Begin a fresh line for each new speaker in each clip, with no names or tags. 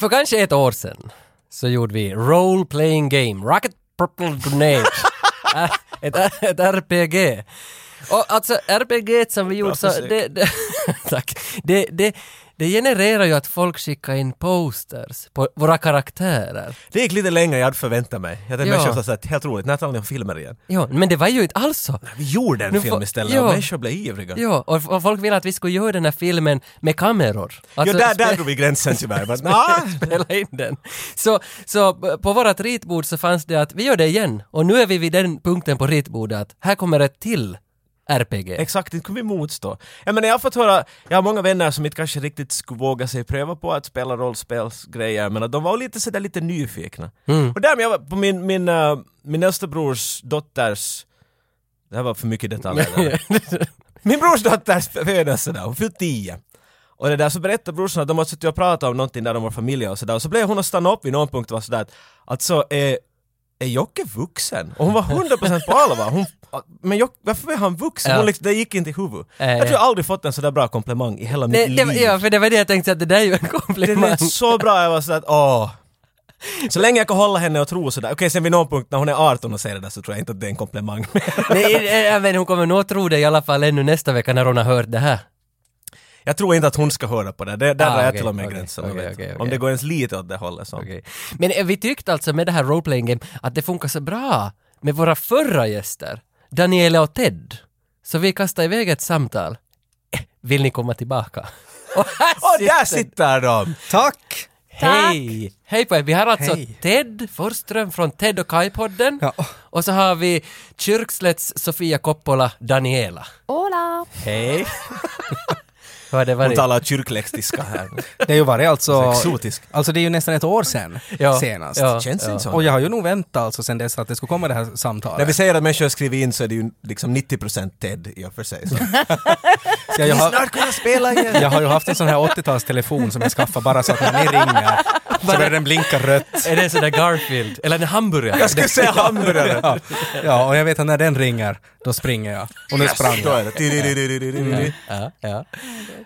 För kanske ett år sedan så gjorde vi Role Playing Game, Rocket Purple Grenade. Ä- ett, ett RPG. Och alltså RPG som vi gjorde så,
försök.
det, det, tack. Det, det, det genererar ju att folk skickar in posters på våra karaktärer.
Det gick lite längre än jag hade förväntat mig. Jag tänkte
Ja.
människor sa att helt roligt, när talar ni om filmer igen?
Ja, men det var ju inte alls så.
Vi gjorde en
Nu
film
får-
istället
ja.
och människor blev ivriga.
Ja, och, och folk ville att vi skulle göra den här filmen med kameror. Alltså,
ja, där,
spe-
där drog vi gränsen tyvärr. Men, ah,
spela in den. Så, så på vårat ritbord så fanns det att vi gör det igen och nu är vi vid den punkten på ritbordet att här kommer ett till RPG.
exakt, det kunde vi motstå. Jag menar, jag har fått höra, jag har många vänner som inte kanske riktigt skulle våga sig pröva på att spela rollspelsgrejer, men att de var lite sådär lite nyfikna.
Mm.
Och där, men jag var på min, min, äh, min äldste brors dotters, det här var för mycket detaljer. där. Min brors dotters födelse då, hon fyllde tio. Och det där så berättade brorsan att de hade suttit och pratat om någonting där de var familj och sådär. Och så blev hon att stanna upp vid någon punkt och var sådär att alltså är, är Jocke vuxen? Och hon var 100% på allvar. Hon, men Jocke, varför är han vuxen?
Ja.
Hon liksom, det gick inte i huvudet.
Äh,
jag tror
ja.
jag aldrig fått en sådär bra komplimang i hela
Det,
mitt
det, var-
liv.
ja, för det var det jag tänkte att det där är ju en
det
komplimang.
lät så bra, jag var sådär att åh. Så länge jag kan hålla henne och tro sådär. Okej, sen vid någon punkt när hon är 18 och säger det där så tror jag inte att det är en komplimang mer.
Nej, eh, men hon kommer nog att tro det i alla fall ännu nästa vecka när hon har hört det här.
Jag tror inte att hon ska höra på det. det där
Ah,
drar jag
okej,
till och med
okej,
gränsen.
okej,
vet.
okej,
Om
okej.
det går ens lite åt det hållet så.
Okej. Men eh, vi tyckte alltså med det här role-playing game att det funkar så bra med våra förra gäster, Daniela och Ted. Så vi kastade iväg ett samtal. Eh, Vill ni komma tillbaka? Och här
Och där sitter de!
Tack!
Hej! Hej på er! Vi har alltså
Hej.
Ted Forsström från Ted och Kai-podden.
Ja.
Och så har vi Kyrkslätts Sofia Coppola Daniela.
Hola!
Hej! Hur har det
Hon
varit?
talar kyrkläxtiska här.
Det har ju varit alltså...
Så exotisk.
Alltså det är ju nästan ett år sedan
Ja,
senast.
ja.
Känns inte så.
Och jag har ju nog väntat alltså sen dess att det skulle komma det här
När
samtalet.
vi säger att människor skriver in så är det ju liksom 90% Ted i och för sig. Så.
Så jag, har,
Snart kunna spela igen!
jag har ju haft en sån här 80-talstelefon som jag skaffade bara så att när ni ringer så börjar den blinka rött.
Är det en sån där Garfield? Eller en hamburgare?
Jag skulle säga hamburgare!
Ja, ja, och jag vet att när den ringer, då springer jag. Och nu sprang
Då
jag.
är det. Tiriririririri.
Ja, ja.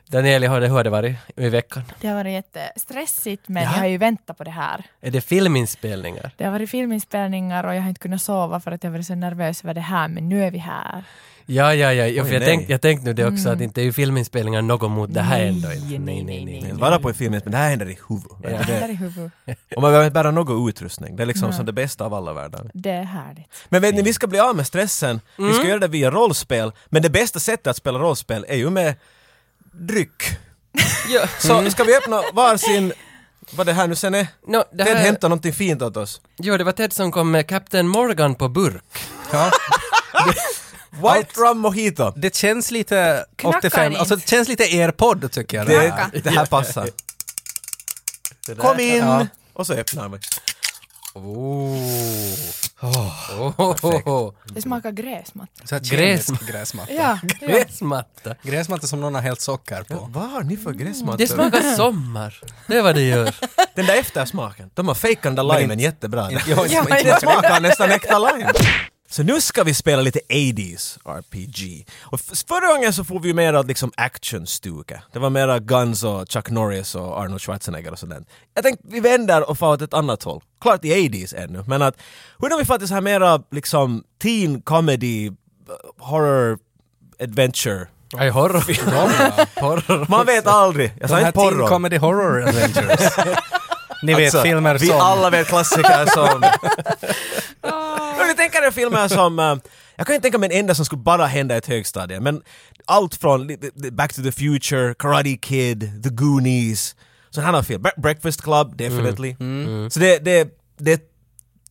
Daniela, hur har det- hur har det varit i veckan?
Det har varit jättestressigt men
Ja.
jag har ju väntat på det här.
Är det filminspelningar?
Det har varit filminspelningar och jag har inte kunnat sova för att jag har varit så nervös över det här men nu är vi här.
Ja, ja, ja. ja för
Oj,
jag
nej.
tänkte jag tänk nu det också, att inte är ju filminspelningar något mot det här
Mm. Nej,
ändå. inte.
nej, nej, nej.
Jag Vara på en film, men det här händer i huvudet.
Det händer i huvudet.
Och man behöver inte bära någon utrustning. Det är liksom som det bästa av alla världar.
Det är härligt.
Men vet ni, vi ska bli av med stressen. Vi ska göra det via rollspel. Men det bästa sättet att spela rollspel är ju med dryck.
Ja,
Så ska vi öppna varsin, vad det här nu sen är?
no, det
Ted
här,
hämtar någonting fint åt oss.
jo, det var Ted som kom med Captain Morgan på burk.
Ja.
White rum mojito.
Det känns lite
Knackar
85,
inte.
alltså det känns lite er podd tycker jag. Det här.
Det, det här passar. Kom in! Och så öppnar vi.
Oh. Oh. Oh.
Det smakar gräsmatta.
Så här
Gräs-
kemisk gräsmatta.
Ja, ja.
Gräsmatta.
Gräsmatta som någon har hällt socker på.
Vad har ni för
Det
gräsmattor?
smakar sommar. Det är vad det gör.
Den där eftersmaken. De har fejkat den där limen jättebra.
Inte- jag har inte-
Ja,
inte-
Den smakar nästan äkta lime. Så nu ska vi spela lite 80s RPG. Och f- förra gången så får vi ju mera liksom actionstuka. Det var mera Guns och Chuck Norris och Arnold Schwarzenegger och sådant. Jag tänkte vi vänder och far åt ett annat håll. Klart i 80s ännu, men att hur om vi faktiskt har mera liksom teen comedy, eh, horror, adventure.
Nej, horror. horror.
Man vet aldrig. Jag
De
sa
här
inte
teen
Alltså, porr.
comedy horror adventures. Ni vet
Alltså,
filmer
vi
som...
alla vet klassiker som... Om vi tänker er filmer som... eh, jag kan inte tänka mig en enda som skulle bara hända i ett högstadie, men allt från li- li- Back to the Future, Karate Kid, The Goonies, sådana här filmer. Bre- Breakfast Club, definitely.
Mm,
Mm.
Så det, det, det är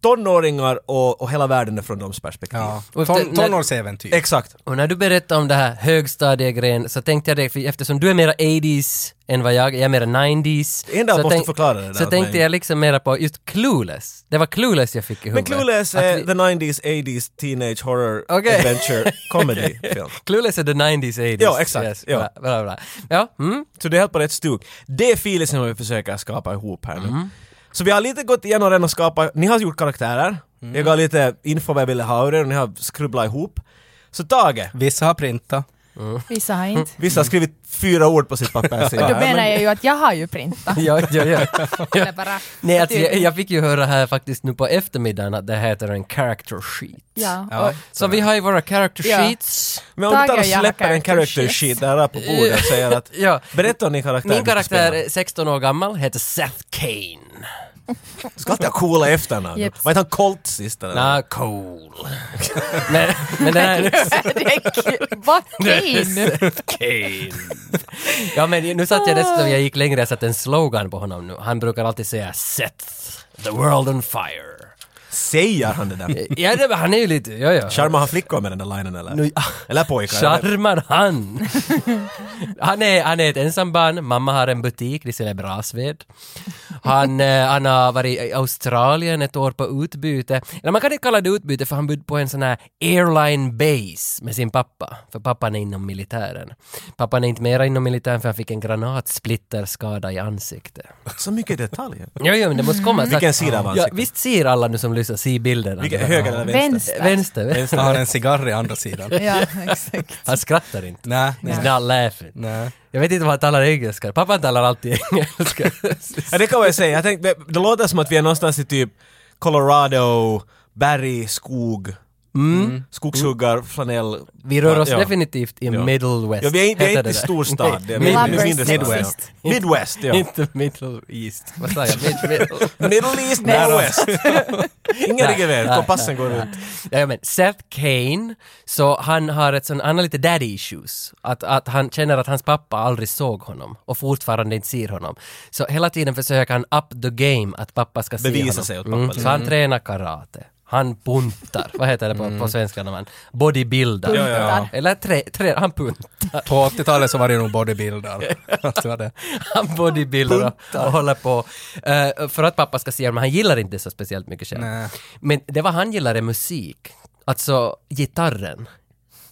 tonåringar och, och hela världen är från deras perspektiv.
Ja.
Och efter-
Ton, tonårsäventyr.
Exakt.
Och när du berättade om det här högstadiegrejen så tänkte jag det, för eftersom du är mera 80s än vad jag är, jag är mera 90s.
Det enda
så
måste förklara det där
Så
åt
tänkte
mig.
jag liksom mera på just Clueless. Det var Clueless jag fick i
Men
huvudet.
Clueless
Att
är
vi-
the 90s, 80s, teenage horror,
Okej.
adventure, comedy film.
Clueless är the 90s, 80s.
Ja, exakt. Ja.
Bla, bla, bla. ja mm.
Så det är helt på rätt stuk. Det är filisen vi försöker skapa ihop här nu.
Mm.
Så vi har lite gått igenom den och skapat, ni har gjort karaktärer,
Mm.
jag gav lite info vad jag ville ha ur er och ni har skrubblat ihop. Så Tage,
Vissa har printat.
vissa har inte.
Mm.
vissa har skrivit fyra ord på sitt papper.
Och då
Sina.
menar jag ju att jag har ju printat.
ja, ja, ja.
Eller bara,
Nej, alltså, jag, jag fick ju höra här faktiskt nu på eftermiddagen att det heter en character sheet.
Ja,
Ja.
och,
Så vi har ju våra character
Ja.
sheets.
Men om du tar och
Tack, jag
släpper
har
en character
character
sheet där på bordet och säger att
Ja.
berätta om din karaktär.
Min
du ska
karaktär
spela."
är 16 år gammal, heter Seth Kane.
Du ska alltid ha coola efternamn.
Jeps.
Var inte han Colt sist? eller?
Nah, cool. men, men den här...
det är kul. Vad fin!
Kane. ja men nu satt jag dessutom, jag gick längre, jag satte en slogan på honom nu. Han brukar alltid säga Seth, the world on fire.
Säger han det där?
Ja, det, han är ju lite, ja ja.
Charmar han flickor med den där linen eller?
Nu-
Eller pojkar? eller?
Charmar han! han, är, han är ett ensambarn, mamma har en butik, de säljer brasved. Han, eh, han har varit i Australien ett år på utbyte. Eller man kan inte kalla det utbyte för han bodde på en sån här airline base med sin pappa. För pappan är inom militären. Pappan är inte mera inom militären för han fick en granatsplitterskada i ansiktet.
Så mycket detaljer.
Jo, jo, men det måste komma.
Vilken sida av
ja,
ansiktet?
Visst ser alla nu som lyssnar, ser bilderna?
Vilken, höger eller vänster?
Vänster.
Vänster. vänster.
Jag har en cigarr i andra sidan.
Ja, exakt.
Han skrattar inte.
Nej, nej,
He's not laughing.
nej.
Jag vet inte om han talar engelska. Pappa talar alltid engelska.
Ja, det kan man ju säga. Jag tänkte, det, det låter som att vi är någonstans i typ Colorado, berg, skog,
Mm.
skogshuggar, flanell.
Vi rör oss
Ja.
definitivt i
Ja.
middle west.
Ja, vi är, inte- vi
heter
är inte i
det där.
storstad.
Nej,
Det är
mid-
mindre-
Midwest.
mindre stad, ja.
Midwest.
Midwest, ja.
Inte middle east. Vad sa jag? Mid, middle.
Middle East, Middle West. Ingen riktigt vet. Kompassen går runt.
Ja, men Seth Kane, så han har ett sån, han har lite daddy issues. Att, att han känner att hans pappa aldrig såg honom och fortfarande inte ser honom. Så hela tiden försöker han up the game att pappa ska se
Bevisa
honom.
sig åt pappa,
Mm.
liksom.
Så han tränar karate. Han puntar. Vad heter det på,
Mm.
på svenska när man bodybuildar?
Ja, ja, ja.
Eller trä, trä, han puntar.
På 80-talet så var det nog bodybuilder. Att det var det.
Han bodybuildar och, och håller på. eh, för att pappa ska se honom, han gillar inte så speciellt mycket själv.
Nej.
Men det var han gillar är musik. Alltså gitarren.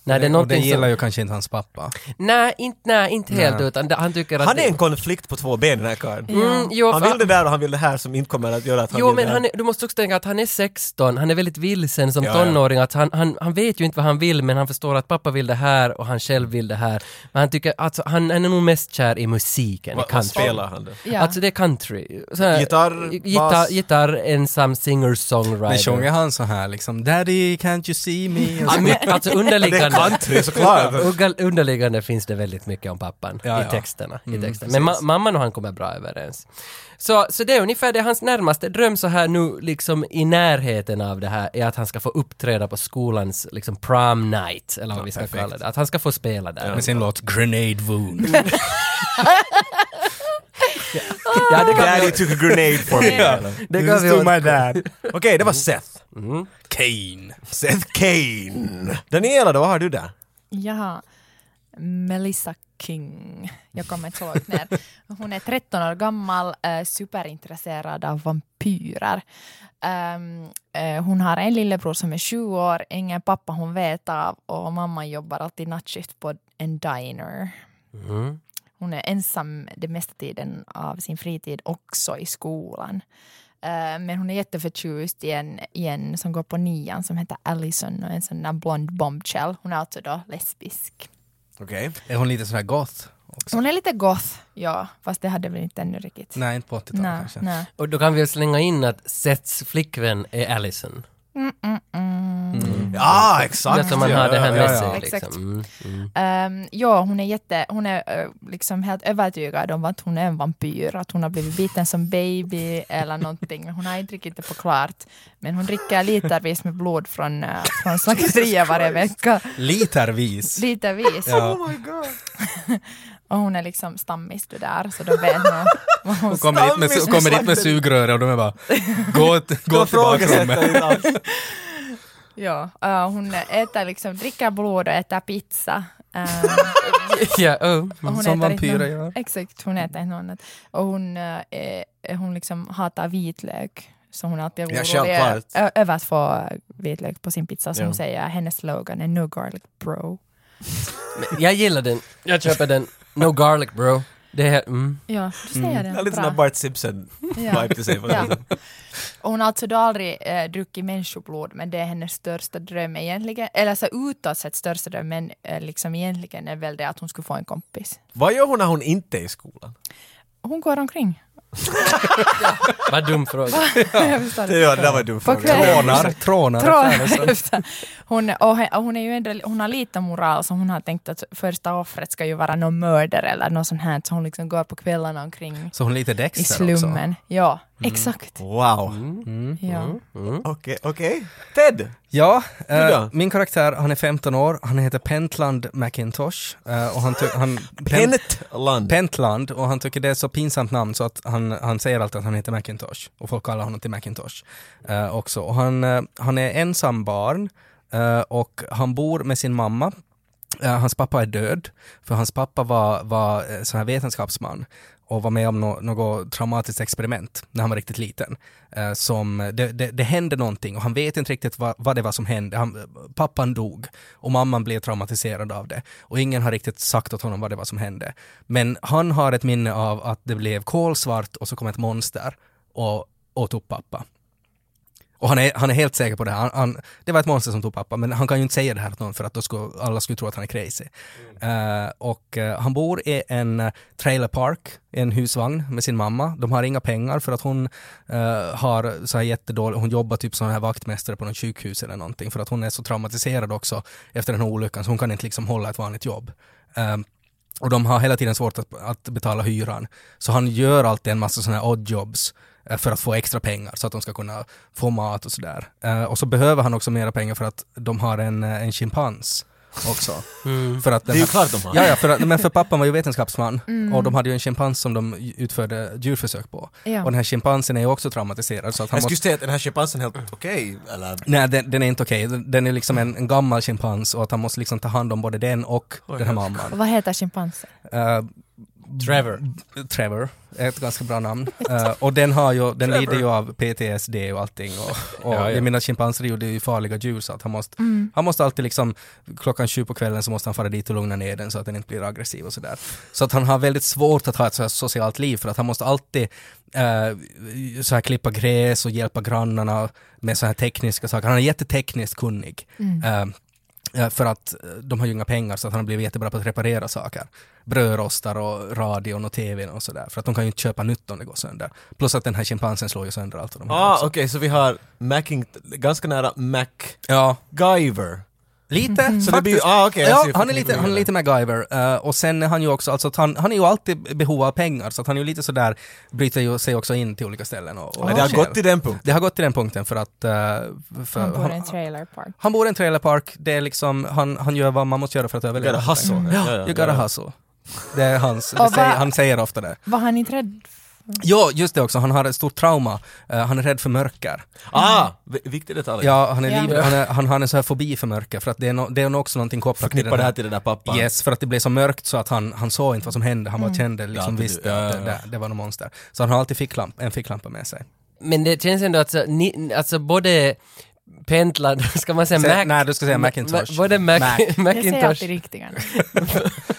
Nej, det är
Och det
någonting
gillar
som...
ju kanske inte hans pappa.
Nej, inte, nej, inte helt utan det- han tycker att...
Han
det-
är en konflikt på två ben den här karln.
Mm, jo,
Han
för-
vill det där och han vill det här som inte kommer att göra att han
Jo
vill
men
det här.
han är, du måste också tänka att han är 16, han är väldigt vilsen som
Ja, ja.
tonåring. Att han, han, han vet ju inte vad han vill men han förstår att pappa vill det här och han själv vill det här. Men han tycker, alltså han, han är nog mest kär i musiken, i
Vad- Vad
country.
spelar han då?
Ja.
Alltså det är country. Så här,
Gitarr,
gitarr,
bas.
gitarr, ensam
Men sjunger
singer-songwriter.
han så här liksom “Daddy, can't you see me?” och
Ja,
så,
men, Alltså
Det är
underliggande.
country såklart.
Ugga- Underliggande finns det väldigt mycket om pappan
Ja,
i
ja.
texterna. I texten. Men ma- mamman och han kommer bra överens. Så, så det är ungefär det, hans närmaste dröm så här nu liksom i närheten av det här är att han ska få uppträda på skolans liksom prom night, eller vad vi ska
perfekt.
kalla det. Att han ska få spela
Ah.
där.
med sin låt “Grenade Wound”.
Ja, det kan
Daddy
vi,
took a grenade for me. eller?
det kan vi åt-
dad.
Okej, det var Seth.
Mm.
Kane.
Seth Kane. Daniela då, vad har du där?
Ja, Melissa King. Jag kommer inte ihåg när. Hon är 13 år gammal, eh, superintresserad av vampyrer. Ehm, eh, Hon har en lillebror som är 20 år, ingen pappa hon vet av och mamma jobbar alltid nattskift på en diner.
Mm.
Hon är ensam den mesta tiden av sin fritid, också i skolan. Eh, Men hon är jätteförtjust i en, i en som går på nian som heter Allison och en sån där blond bombshell. Hon är alltså då lesbisk.
Okej.
Är hon lite sån här goth? Också?
Hon är lite goth, ja, fast det hade väl inte ännu riktigt.
Nej, inte på 80-talet
nej,
kanske.
nej.
Och då kan vi slänga in att Seths flickvän är Allison.
Mm, mm, mm.
Ja,
Så
exakt.
att man har det här
ja,
med
ja.
sig.
Exakt.
Liksom. Mm, mm.
Ehm, ja, hon är, jätte, hon är eh, liksom helt övertygad om att hon är en vampyr, att hon har blivit biten som baby eller någonting. Men hon har inte riktigt det förklarat. Men hon dricker litervis med blod från, eh, från slakteriet varje vecka.
Litervis.
Litervis.
Ja.
Och hon är liksom stammis du där, så då vet hon vad hon
Hon kommer dit med,
Stammis
hon kommer dit med
slaktade.
sugröre och de är bara “Gå, t- gå till bakrummet”.
inte alls.
Ja, eh, hon äter liksom, dricker blod och äter pizza. Ehm,
Ja, oh.
och hon äter
Som
inte
vampyrer
någon-
gör.
Exakt, hon äter inte något annat. Och hon, eh, är- hon liksom hatar vitlök. Så hön är alltid
Ja,
orolig
självklart.
ö- över att få vitlök på sin pizza. Som
Ja.
hon säger, hennes slogan är No garlic bro.
Jag gillar den, jag köper den. No garlic bro. Det är... Mm.
Ja, du säger
Jag
det.
har lite sån
Bra.
här Bart Simpson
Ja.
vibe till sig på det
Ja.
sättet.
Och hon har alltså då aldrig eh, druckit människoblod, men det är hennes största dröm egentligen. Eller så utåt sett största dröm, men eh, liksom egentligen är väl det att hon skulle få en kompis.
Vad gör hon när hon inte är i skolan?
Hon går omkring.
Vad dum fråga.
Jag förstår det.
Ja, det där var en dum
På
fråga.
kvällen.
Trånar, trånar.
Trånar efter. Hon, och he- och hon, är ju ändå, hon har lite moral, så hon har tänkt att första offret ska ju vara någon mördare eller något sånt här, så hon liksom går på kvällarna omkring
Så hon är lite
i
Dexter också.
slummen. Ja,
Mm.
exakt.
Wow.
Mm.
Ja.
Okej, okej. Ted!
Ja, eh,
Du då?
min karaktär, han är 15 år, han heter Pentland McIntosh. eh, och han, ty- han, Pen-
Pentland.
Pentland och han tycker det är så pinsamt namn så att han, han säger alltid att han heter Macintosh och folk kallar honom till Macintosh eh, också. Och han, eh, han är ensam barn eh, och han bor med sin mamma. Eh, hans pappa är död för hans pappa var, var eh, sån här vetenskapsman och var med om no- något traumatiskt experiment när han var riktigt liten. Eh, som, det, det, det hände någonting och han vet inte riktigt vad, vad det var som hände. Han, pappan dog och mamman blev traumatiserad av det. Och ingen har riktigt sagt åt honom vad det var som hände. Men han har ett minne av att det blev kolsvart och så kom ett monster och åt upp pappa. Och han är, han är helt säker på det här. Han, han, det var ett monster som tog pappa, men han kan ju inte säga det här till någon för att då skulle, alla skulle tro att han är crazy. Eh, och eh, han bor i en eh, trailer park, i en husvagn med sin mamma. De har inga pengar för att hon eh, har så här jättedålig, hon jobbar typ som här vaktmästare på något sjukhus eller någonting för att hon är så traumatiserad också efter den här olyckan så hon kan inte liksom hålla ett vanligt jobb. Eh, och de har hela tiden svårt att, att betala hyran. Så han gör alltid en massa sådana här oddjobs eh, för att få extra pengar så att de ska kunna få mat och sådär. Eh, Och så behöver han också mera pengar för att de har en, eh, en chimpans också.
Mm.
För att den här-
klart de har.
Ja, ja för, att- men för pappan var ju vetenskapsman och de hade ju en schimpans som de utförde djurförsök på.
Ja.
Och den här schimpansen är ju också traumatiserad så att han
Jag skulle
måste...
säga att den här schimpansen är helt okej, eller?
Nej, den, den är inte okej. Den- Den är liksom en, en gammal schimpans och att han måste liksom ta hand om både den och den här mamman.
Och Vad heter schimpansen?
Eh,
Trevor.
Trevor är ett ganska bra namn. Eh, och den, har ju, den lider ju av PTSD och allting. Och, och
Ja, ja.
Jag menar schimpanser är ju- det är ju farliga djur så att han måste, han måste alltid liksom, klockan 20 på kvällen så måste han fara dit och lugna ner den så att den inte blir aggressiv och sådär. Så att han har väldigt svårt att ha ett så här socialt liv för att han måste alltid eh, så här klippa gräs och hjälpa grannarna med så här tekniska saker. Han är jättetekniskt kunnig. Eh, Eh, för att eh, de har ju inga pengar så att han har blivit jättebra på att reparera saker. Brödrostar och radion och tvn och sådär. För att de kan ju inte köpa nytt om det går sönder. Plus att den här schimpansen slår ju sönder allt vad de har
Ah,
också.
okej, så vi har Macking, ganska nära MacGyver.
Ja, lite
Så
faktiskt.
det blir ju, ah, okej. jag
ja,
ser
han är lite, han är
förknippningen
lite MacGyver. Eh, och sen är han ju också, alltså att han, han är ju alltid i behov av pengar. Så att han är ju lite sådär, bryter ju sig också in till olika ställen och, och
där. Men det har
stjäl.
gått till den punkten.
det har gått till den punkten för att... eh, för
Han bor i en trailer park.
han bor i en trailerpark, det är liksom, han, han gör vad man måste göra för att
Gotta
överleva.
hustle. Ja, ja,
You gotta
ja.
hustle. Det är hans,
Och
det säger,
vad-
han säger ofta det.
Var han inte rädd?
Ja, just det också, han har ett stort trauma. Eh, han är rädd för mörker.
Ah, vi- viktig detalj. Jag
Ja, han, är
Ja.
liv, han, är, han har en så här fobi för mörker, för att det är, no, det är nog också någonting kopplat
Förknippar det här till den där pappan.
Yes, för att det blev så mörkt så att han, han såg inte vad som hände,
Mm.
han bara kände liksom,
alltid-
visst,
ja, ja,
att det,
ja.
det, det var något monster. Så han har alltid ficklamp, en ficklampa med sig.
Men det känns ändå att så, ni, alltså både Pentland, ska man säga
Säg-
Mac?
nej, du ska säga Macintosh.
Ma- både Mac,
Mac.
Jag säger
Macintosh,
alltid riktiga.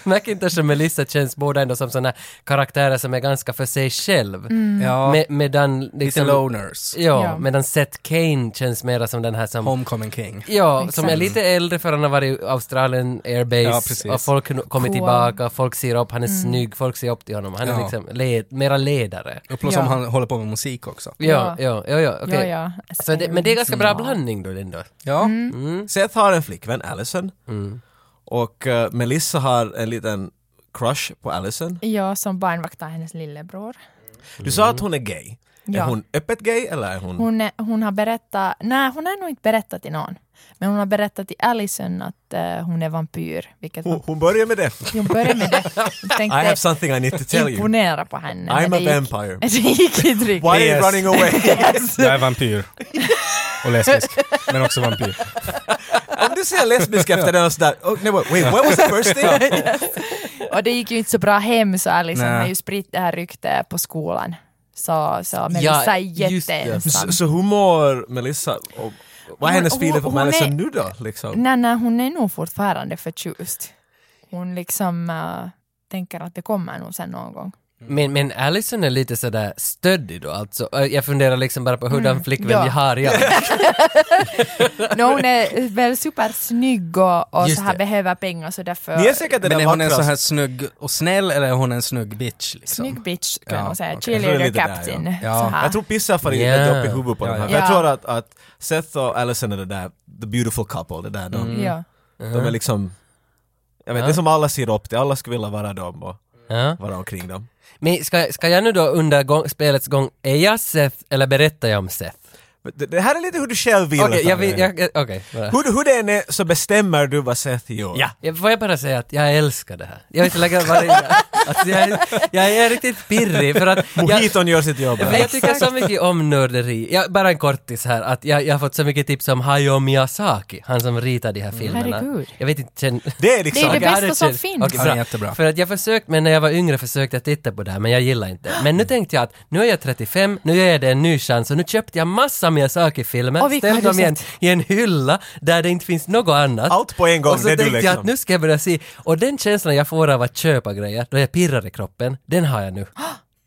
Macintosh och Melissa känns båda ändå som sådana karaktärer som är ganska för sig själv.
Ja,
Me- medan
lite
liksom...
loners.
Ja,
Mm. Ja.
medan Seth Kane känns mera som den här som...
Homecoming king.
Ja,
Exakt.
som är lite äldre för han har varit i Australien
Ja,
Airbase
precis.
och folk har kommit
Cool. Mm.
tillbaka, folk ser upp, han är snygg, folk ser upp till honom. Han är
Ja.
liksom led, mera ledare.
Och plus
Ja.
om han håller på med musik också.
Ja,
Ja.
ja, ja, ja, okej.
Ja, ja. Mm.
Så det, men det är ganska bra blandning då ändå.
Ja,
Seth har en flickvän, Allison. Och eh, Melissa har en liten crush på Allison.
Ja, som barnvaktar hennes lillebror.
Du sa att hon är gay. Är
Ja.
hon öppet gay eller är hon...
Hon, är- hon har berättat, nej hon har nog inte berättat till någon. Men hon har berättat till Allison att eh, hon är vampyr. Vilket
Oh.
Hon,
hon,
hon börjar med det.
hon började med det. Jag
I have
tänkte
something I need to tell you.
imponera på henne. men
I'm a
det gick-
vampire.
Det gick inte riktigt.
Why are you
Yes.
running away?
jag är vampyr. Och lesbisk, men också vampyr.
Om du säger lesbisk efter den och sådär, oh, no, wait, wait, what was the first thing?
Och det gick ju inte så bra hem så Allison
Nej.
har ju spritt det här ryktet på skolan. Så, så Melissa är
just det.
jätteensam.
så, så hur mår Melissa? Och, vad är
Hon-
hennes feeling
hon-
för
hon är-
Melissa nu då? Liksom?
Nej, nej, hon är nog fortfarande förtjust. Hon liksom... eh, tänker att det kommer nog sen någon gång.
Men, men Allison är lite sådär stöddig då alltså. Ö, Jag funderar liksom bara på hurdan
Mm,
flickvän
ja.
vi har jag.
No, hon är väl supersnygg och, och
Just
så här
det.
behöver pengar så därför...
Ni är säkert det
Men
där
är hon en så här
vackrast.
snygg och snäll eller är hon en snygg bitch? Liksom?
Snygg bitch kan
Ja,
man säga,
okej.
Så det är
cheerleader
lite där,
captain.
ja. Ja,
Så
Ah.
här.
Jag tror pissaffären
Ja.
yeah. är ett jobb i huvudet på
Ja,
de här.
ja.
För Jag
Ja.
tror att, att Seth och Allison är det där, the beautiful couple, det där de,
ja.
de är liksom jag vet,
Mm. Ja.
det är som alla ser upp till, alla skulle vilja vara dem och
Ja.
vara omkring dem.
Men ska, ska jag nu då under gång, spelets gång, är jag Seth eller berättar jag om Seth?
Men Det, det här är lite hur du själv vill
Okej,
att
jag
han
vill,
är.
jag, jag- okej. bara.
Hur, hur det än är så bestämmer du vad Seth gör.
Ja, jag- får jag bara säga att jag älskar det här. Jag vill inte lägga varje... Alltså jag, är- jag är riktigt pirrig för att... Jag,
Mojiton gör sitt jobb.
Men jag tycker så mycket om nörderi. Jag, bara en kortis här, att jag, jag har fått så mycket tips om Hayao Miyazaki, han som ritar de här filmerna.
Herregud.
Jag vet inte, känn...
Det är liksom...
Det är det
Jag hade
bästa som
känn-
finns.
Okej,
Ja,
bra.
det är jättebra.
För att jag försökte, men när jag var yngre försökte jag titta på det här, men jag gillar inte. Men nu tänkte jag att nu är jag 35, nu ger jag det en ny chans och nu köpte jag massa
Och
Miyazaki-filmer,
vilka
ställde
har
dem
du
i en, i en hylla där det inte finns något annat.
Allt på en gång,
Och så
det är du
tänkte jag att
liksom.
nu ska jag börja se, och den känslan jag får av att köpa grejer, då jag pirrar i kroppen, den har jag nu.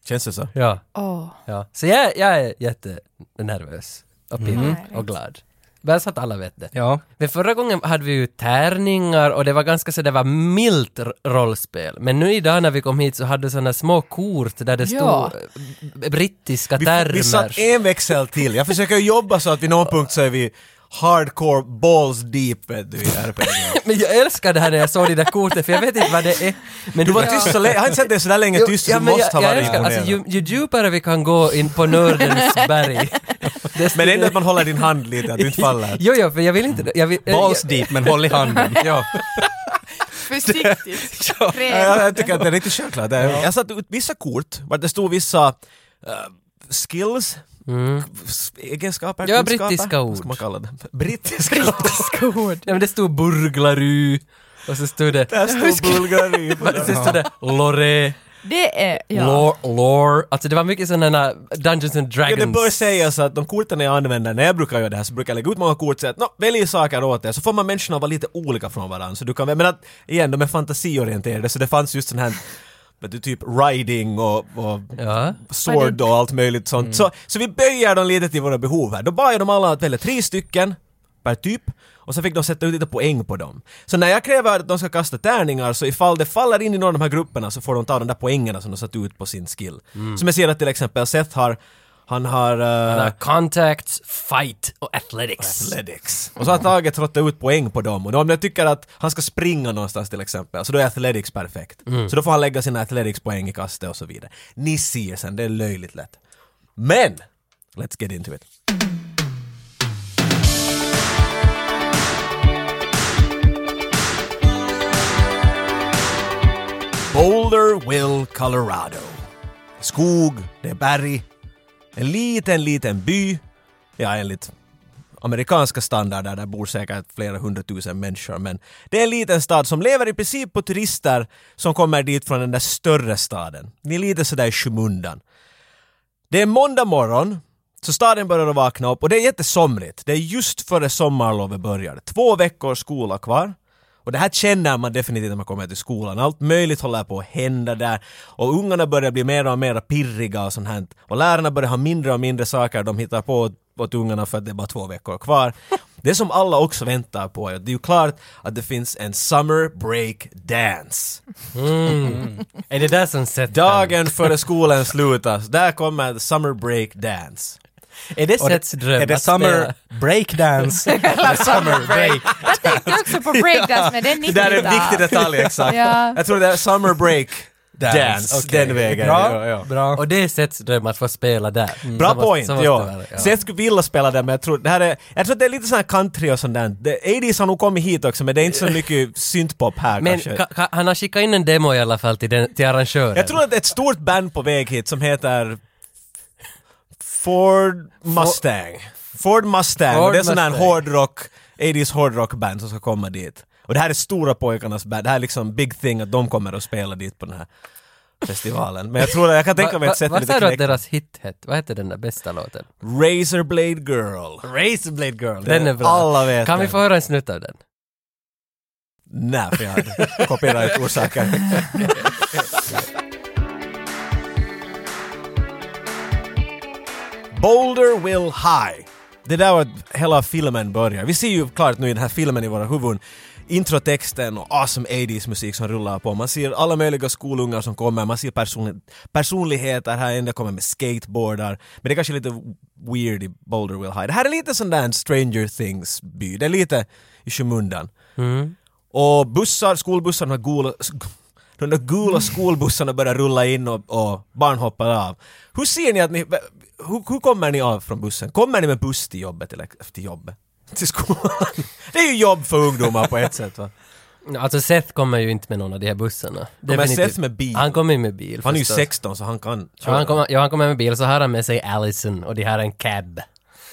Känns det så?
Ja.
Åh.
Ja, så jag, jag är jättenervös och pirrig
Mm.
och glad. Bara så att alla vet det.
Ja.
Men förra gången hade vi ju tärningar och det var ganska så det var milt r- rollspel. Men nu idag när vi kom hit så hade du sådana små kort där det
Ja.
stod eh, b- brittiska
Vi,
termer.
vi satt en växel till. Jag försöker jobba så att vid någon punkt så är vi hardcore balls deep vet du, i RPG.
Men jag älskar det här när jag såg de där korten för jag vet inte vad det är. Men
Du var
Ja.
tyst så länge, jag har inte sett dig sådär länge
Jo,
tyst, så
ja,
du
men
måste
jag,
ha
jag
varit
älskar, alltså, ju,
imponerad.
ju djupare vi kan gå in på nördens berg. desto-
Men ändå att man håller din hand lite, att du inte faller.
Jo, jo, för jag vill inte... Jag vill,
Balls deep men håll i handen. ja.
Försiktigt.
Ja, Jag, jag tycker att det är riktigt självklart. Det är- Jag satte ut vissa kort, var det stod vissa eh, skills,
Mm.
s- egenskaper,
Ja,
kunskaper,
brittiska
Vad ska
ord.
man kalla det? Brittiska ord.
Ja, men det stod burglaru och så stod det,
Där stod Bulgari på
så
den.
stod det lore,
Det är... Ja.
lore, lore. Alltså det var mycket sådana Dungeons and
Ja,
Dragons.
det bör sägas att de korten jag använder när jag brukar göra det här så brukar jag lägga ut många kort och säga att "Nå, välj saker åt dig så får man människorna att vara lite olika från varandra. Så du kan, men att, igen, de är fantasiorienterade så det fanns just sån här vet du, typ riding och, och
Ja.
sword och allt möjligt sånt. Så, så vi böjer dem lite till våra behov här. Då bad jag dem alla att välja tre stycken per typ och så fick de sätta ut lite poäng på dem. Så när jag kräver att de ska kasta tärningar så ifall det faller in i någon av de här grupperna så får de ta de där poängerna som de satt ut på sin skill. Som jag ser att till exempel Seth har Mm. han har... eh,
Uh, contacts, fight och athletics.
Athletics. Och så har Tage trottat ut poäng på dem. Och om jag tycker att han ska springa någonstans till exempel, så då är Athletics perfekt. Så då får han lägga sina Athletics-poäng i kastet och så vidare. Ni ser sen, det är löjligt lätt. Men! Let's get into it. Boulderville, Colorado. Skog, det är berg. En liten, liten by. Ja, enligt amerikanska standarder, där bor säkert flera hundratusen människor, men det är en liten stad som lever i princip på turister som kommer dit från den där större staden. Ni är lite sådär i skymundan. Det är måndag morgon, så staden börjar att vakna upp och det är jättesomrigt. Det är just före sommarlovet börjar. Två veckor skola kvar. Och det här känner man definitivt när man kommer till skolan. Allt möjligt håller på att hända där. Och ungarna börjar bli mer och mer pirriga och sånt här. Och lärarna börjar ha mindre och mindre saker de hittar på åt ungarna för att det är bara två veckor kvar. Det som alla också väntar på är att det är ju klart att det finns en summer break dance.
Är det där som Seth
Dagen före skolan slutas, där kommer summer break dance.
Är det Seths dröm
Är det
att spela?
summer breakdance? Eller summer break?
Jag tänkte också på breakdance men den
Det där är en viktig detalj exakt.
Ja.
Jag tror det är summer break dance,
okej.
den vägen.
Bra.
Ja, ja.
Bra.
Och det är Seths dröm att få spela där.
Bra
Så måste-
point,
så måste det
ja.
vara,
Så jag skulle vilja spela det, men jag tror, det här är, jag tror att det är lite sån här country och sånt där. Det- 80s har nog kommit hit också, men det är inte så mycket syntpop här
Men
kanske.
ka- ka- han har skickat in en demo i alla fall till, den, till arrangören.
jag tror att det är ett stort band på väg hit som heter Ford Mustang. Ford Mustang,
Ford
det är sån här
Mustang.
hårdrock, 80s hårdrockband som ska komma dit. Och det här är stora pojkarnas band, det här är liksom big thing att de kommer att spela dit på den här festivalen. Men jag tror att jag kan tänka mig ett sätt
Vad
att
sa
lite
du att
knäcka.
deras hit hette? Vad hette den där bästa låten?
Razorblade Girl.
Razorblade Girl.
Den
Den är bra.
Alla vet
Kan vi
den.
få höra en snutt av den?
Nej, för jag hade copyright-orsaker. Boulder Will High. Det där var hela filmen börjar. Vi ser ju klart nu i den här filmen i våra huvuden introtexten och awesome 80s musik som rullar på. Man ser alla möjliga skolungar som kommer, man ser personli- personligheter här, en del kommer med skateboardar. Men det är kanske är lite weird i Boulder Will High. Det här är lite sån där Stranger Things-by. Det är lite i skymundan. Och bussar, skolbussar, de här gula, de där
Mm.
gula skolbussarna börjar rulla in och, och barn hoppar av. Hur ser ni att ni, hur, hur kommer ni av från bussen? Kommer ni med buss till jobbet eller till jobbet? Till skolan? Det är ju jobb för ungdomar på ett sätt va?
Alltså Seth kommer ju inte med någon av de här bussarna. Definitivt.
Seth med bil?
Han kommer ju med bil
Han är ju
förstås.
16 så han kan
Ja, han kommer, ja, han kommer med bil, så har han med sig Allison och de har en cab.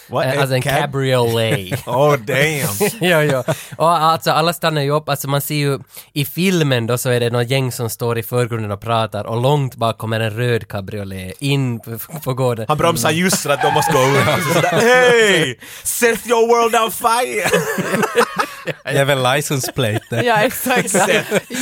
What,
Eh, Alltså en cabriolet.
Oh damn!
ja, ja. Och alltså alla stannar ju upp, alltså man ser ju i filmen då så är det någon gäng som står i förgrunden och pratar och långt bak kommer en röd cabriolet in på, på gården.
Han bromsar just för att de måste gå ut. Hej! Set your world on fire!
Det är väl license plate det.
Ja, exakt.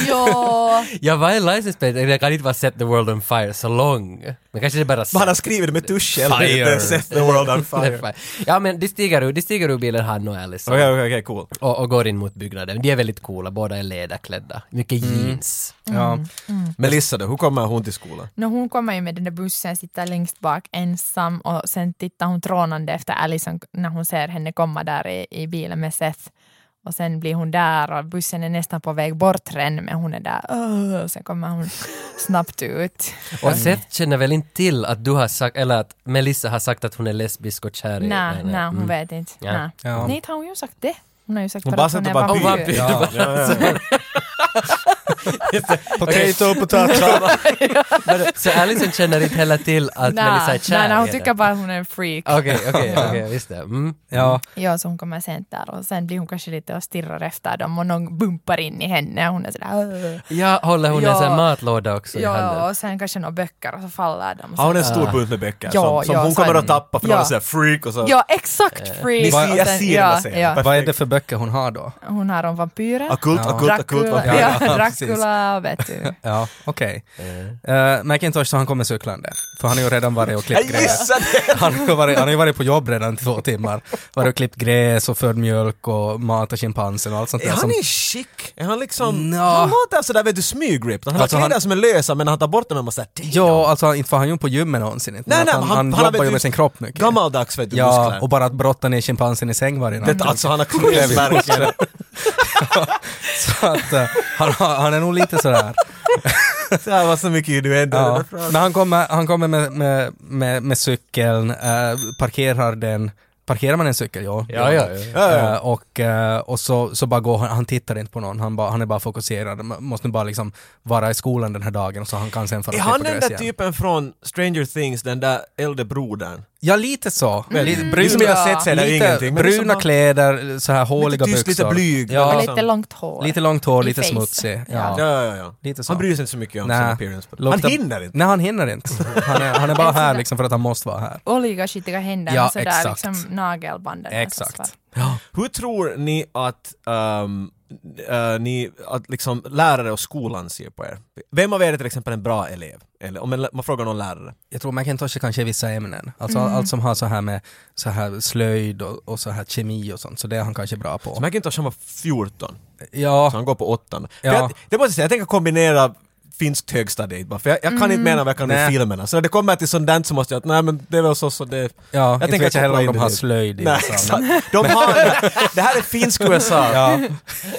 ja.
Ja, vad är license plate? Det kan inte vara set the world on fire så lång. Men kanske det är bara
Han har skrivit det med tusch eller
Fire.
inte. Set the world on fire. Okej,
Ja men de stiger ur, de stiger ur bilen han och Alice
okej, okej, cool.
och, och går in mot byggnaden. De är väldigt coola, båda är läderklädda. Mycket
Mm.
jeans.
Ja.
Melissa då, hur kommer hon till skolan?
No, hon kommer ju med den där bussen, sitter längst bak ensam och sen tittar hon trånande efter Alison när hon ser henne komma där i, i bilen med Seth. Och sen blir hon där och bussen är nästan på väg bort ren men hon är där. "Åh", Och sen kommer hon snabbt ut.
Och
Mm.
Seth känner väl inte till att du har sagt, eller att Melissa har sagt att hon är lesbisk och kär i
Nej,
henne.
nej,
Mm.
hon vet inte.
Ja.
Nej,
Ja.
Nej, inte har hon ju sagt det. Hon har ju sagt
Hon
bara
bara
att hon
satt
är
och bara
vampyr.
Och vampyr.
Ja. Potato, potato.
Så Alison känner inte heller till att Melissa är
Nej,
kär
nej, nej, hon
i
tycker
henne.
bara att hon är en freak.
Okej, okej, okej, visst det. Mm.
Ja,
Ja, så hon kommer sent där och sen blir hon kanske lite och stirrar efter dem och någon bumpar in i henne och hon är sådär "Åh".
Ja, håller hon en sån här
Ja.
matlåda också i handen?
Ja, och sen kanske några böcker och så faller de.
Har
Så,
hon en stor bunt med böcker
Ja,
som, som
ja,
hon
så
kommer
är
att
det.
tappa för
Ja.
någon säger freak och så.
ja, exakt
Ni
freak!
ser,
Och
jag
sen-
ser den
ja,
där scenen. Ah,
ja.
vad är det för böcker hon har då?
Hon har om vampyrer,
Akult,
Ja.
akult, akult.
Dracula,
vad-
vampyrer.
ja,
Ja,
Dracula vet du.
Ja, okej. Eh, Macintosh så han kommer cyklande, för han har ju redan varit och
Jag
klippt gräs.
gissade!
Han har ju varit, han har ju varit på jobb redan i två timmar. Varit och klippt gräs och fört mjölk och matat schimpansen och allt sånt
Är
där.
han
Som,
i chic? Är han liksom...
Nå.
Han låter sådär vet du smygrippt. Han har
Alltså,
kläder
han-
som är lösa men han tar bort dem och man säger damn.
ja, alltså han- inte var han ju på gymmet någonsin. Inte,
Nej,
men
nej,
att
men
han, han,
han
jobbar
vet
ju
ju-
med sin kropp mycket.
Gammaldags vet du,
Ja,
muskler.
och bara att brotta ner schimpansen i säng varje natt.
Det, alltså han har
Kläder.
knivsmärken.
Så att eh, han, har- han är nog lite sådär.
Det här var så mycket innuendo.
Ja. Men han kommer, han kommer med, med, med, med cykeln, eh, parkerar den. Parkerar man en cykel? Ja.
Ja, ja, ja.
Ja, ja.
Eh, och eh, och så, så bara går han, han tittar inte på någon, han, bara- han är bara fokuserad, Man måste bara liksom vara i skolan den här dagen så han kan sen fara
Är
och klippa
han den
gräs
där typ-
igen.
typen från Stranger Things, den där äldre brodern?
Ja, lite så. Lite
Det är som jag har sett så är det
lite
ingenting, men det är som
bruna
han-
kläder, så här håliga
tyst,
byxor.
lite blyg.
Ja,
Och
Liksom.
lite långt hår.
lite långt hår,
I
lite
face.
smutsig. Ja.
Ja, ja, ja.
Lite så.
Han bryr sig inte så mycket om
Nej.
sin appearance. but- Han
Luktar-
hinner inte.
Nej, han hinner inte. Han är, han är bara här liksom för att han måste vara här.
Oliga skitiga händer
Ja,
och sådär
exakt.
liksom nagelbanden. är så
Exakt.
svart.
Hur tror ni att, ehm, eh, ni, att liksom lärare och skolan ser på er? Vem av er är till exempel en bra elev? Eller om en, lä- man frågar någon lärare.
Jag tror Macintosh kanske i vissa ämnen. Alltså
Mm.
allt som har så här med så här slöjd och, och så här kemi och sånt, så det är han kanske bra
Så
på.
McIntosh han var 14,
Ja,
så han går på åttan. För
Ja.
Jag, det måste jag säga, jag tänker kombinera finskt högstadiet bara, för jag, jag kan inte mena vad jag kan ur
Nej.
filmerna. Så när det kommer till sånt där så måste jag att nej men det är väl så så det...
ja jag inte
tänker
vet jag heller
koppla
om
in
de har
det.
slöjd i liksom.
Nej,
USA,
exakt. De har, det här är finsk USA.
Ja,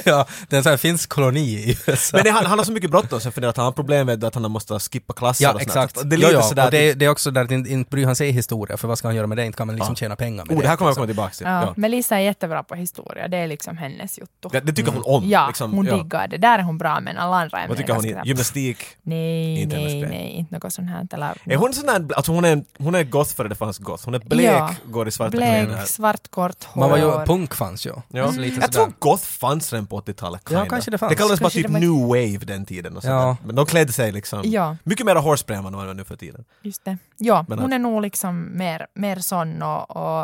ja, det är en sån här finsk koloni i USA.
Men det, han, han har så mycket bråttom så jag funderar att han har problem med att han måste skippa klasser
ja,
och sånt där.
exakt.
Så Det är lite
jo, jo.
sådär... typ-
och det, det är också där att inte, inte bryr han sig i historia, för vad ska han göra med det? Inte kan man liksom
Ja.
tjäna pengar med
oh, det här kommer jag
liksom.
komma tillbaka till.
Ja.
Ja.
Melissa är jättebra på historia, det är liksom hennes jotto.
Det, det tycker hon om.
Ja,
liksom,
hon
ja.
diggar det. Där är hon bra men alla andra ämnen
Vad
är
tycker hon?
ganska
i-
bra.
Gymnastik?
Nej,
Inte hennes
nej,
grej.
nej, inte något sånt här. Eller,
Är hon sån där, alltså hon är, hon är goth för det fanns goth. Hon är blek,
Ja.
går i svarta kläder.
Blek, svart, kort hår.
Man var ju, punk fanns ju.
Ja.
Så Alltså, lite
Jag
sådär.
tror goth fanns redan på 80-talet.
Ja,
kinda.
kanske det fanns.
Det kallades bara
Kanske
typ
det var-
new wave den tiden och
Ja.
ja. Men de klädde sig liksom.
Ja,
Mycket mer hårspray än vad man gör nu för tiden.
just det. Ja,
Men
hon
att-
är nog liksom mer, mer sån och, och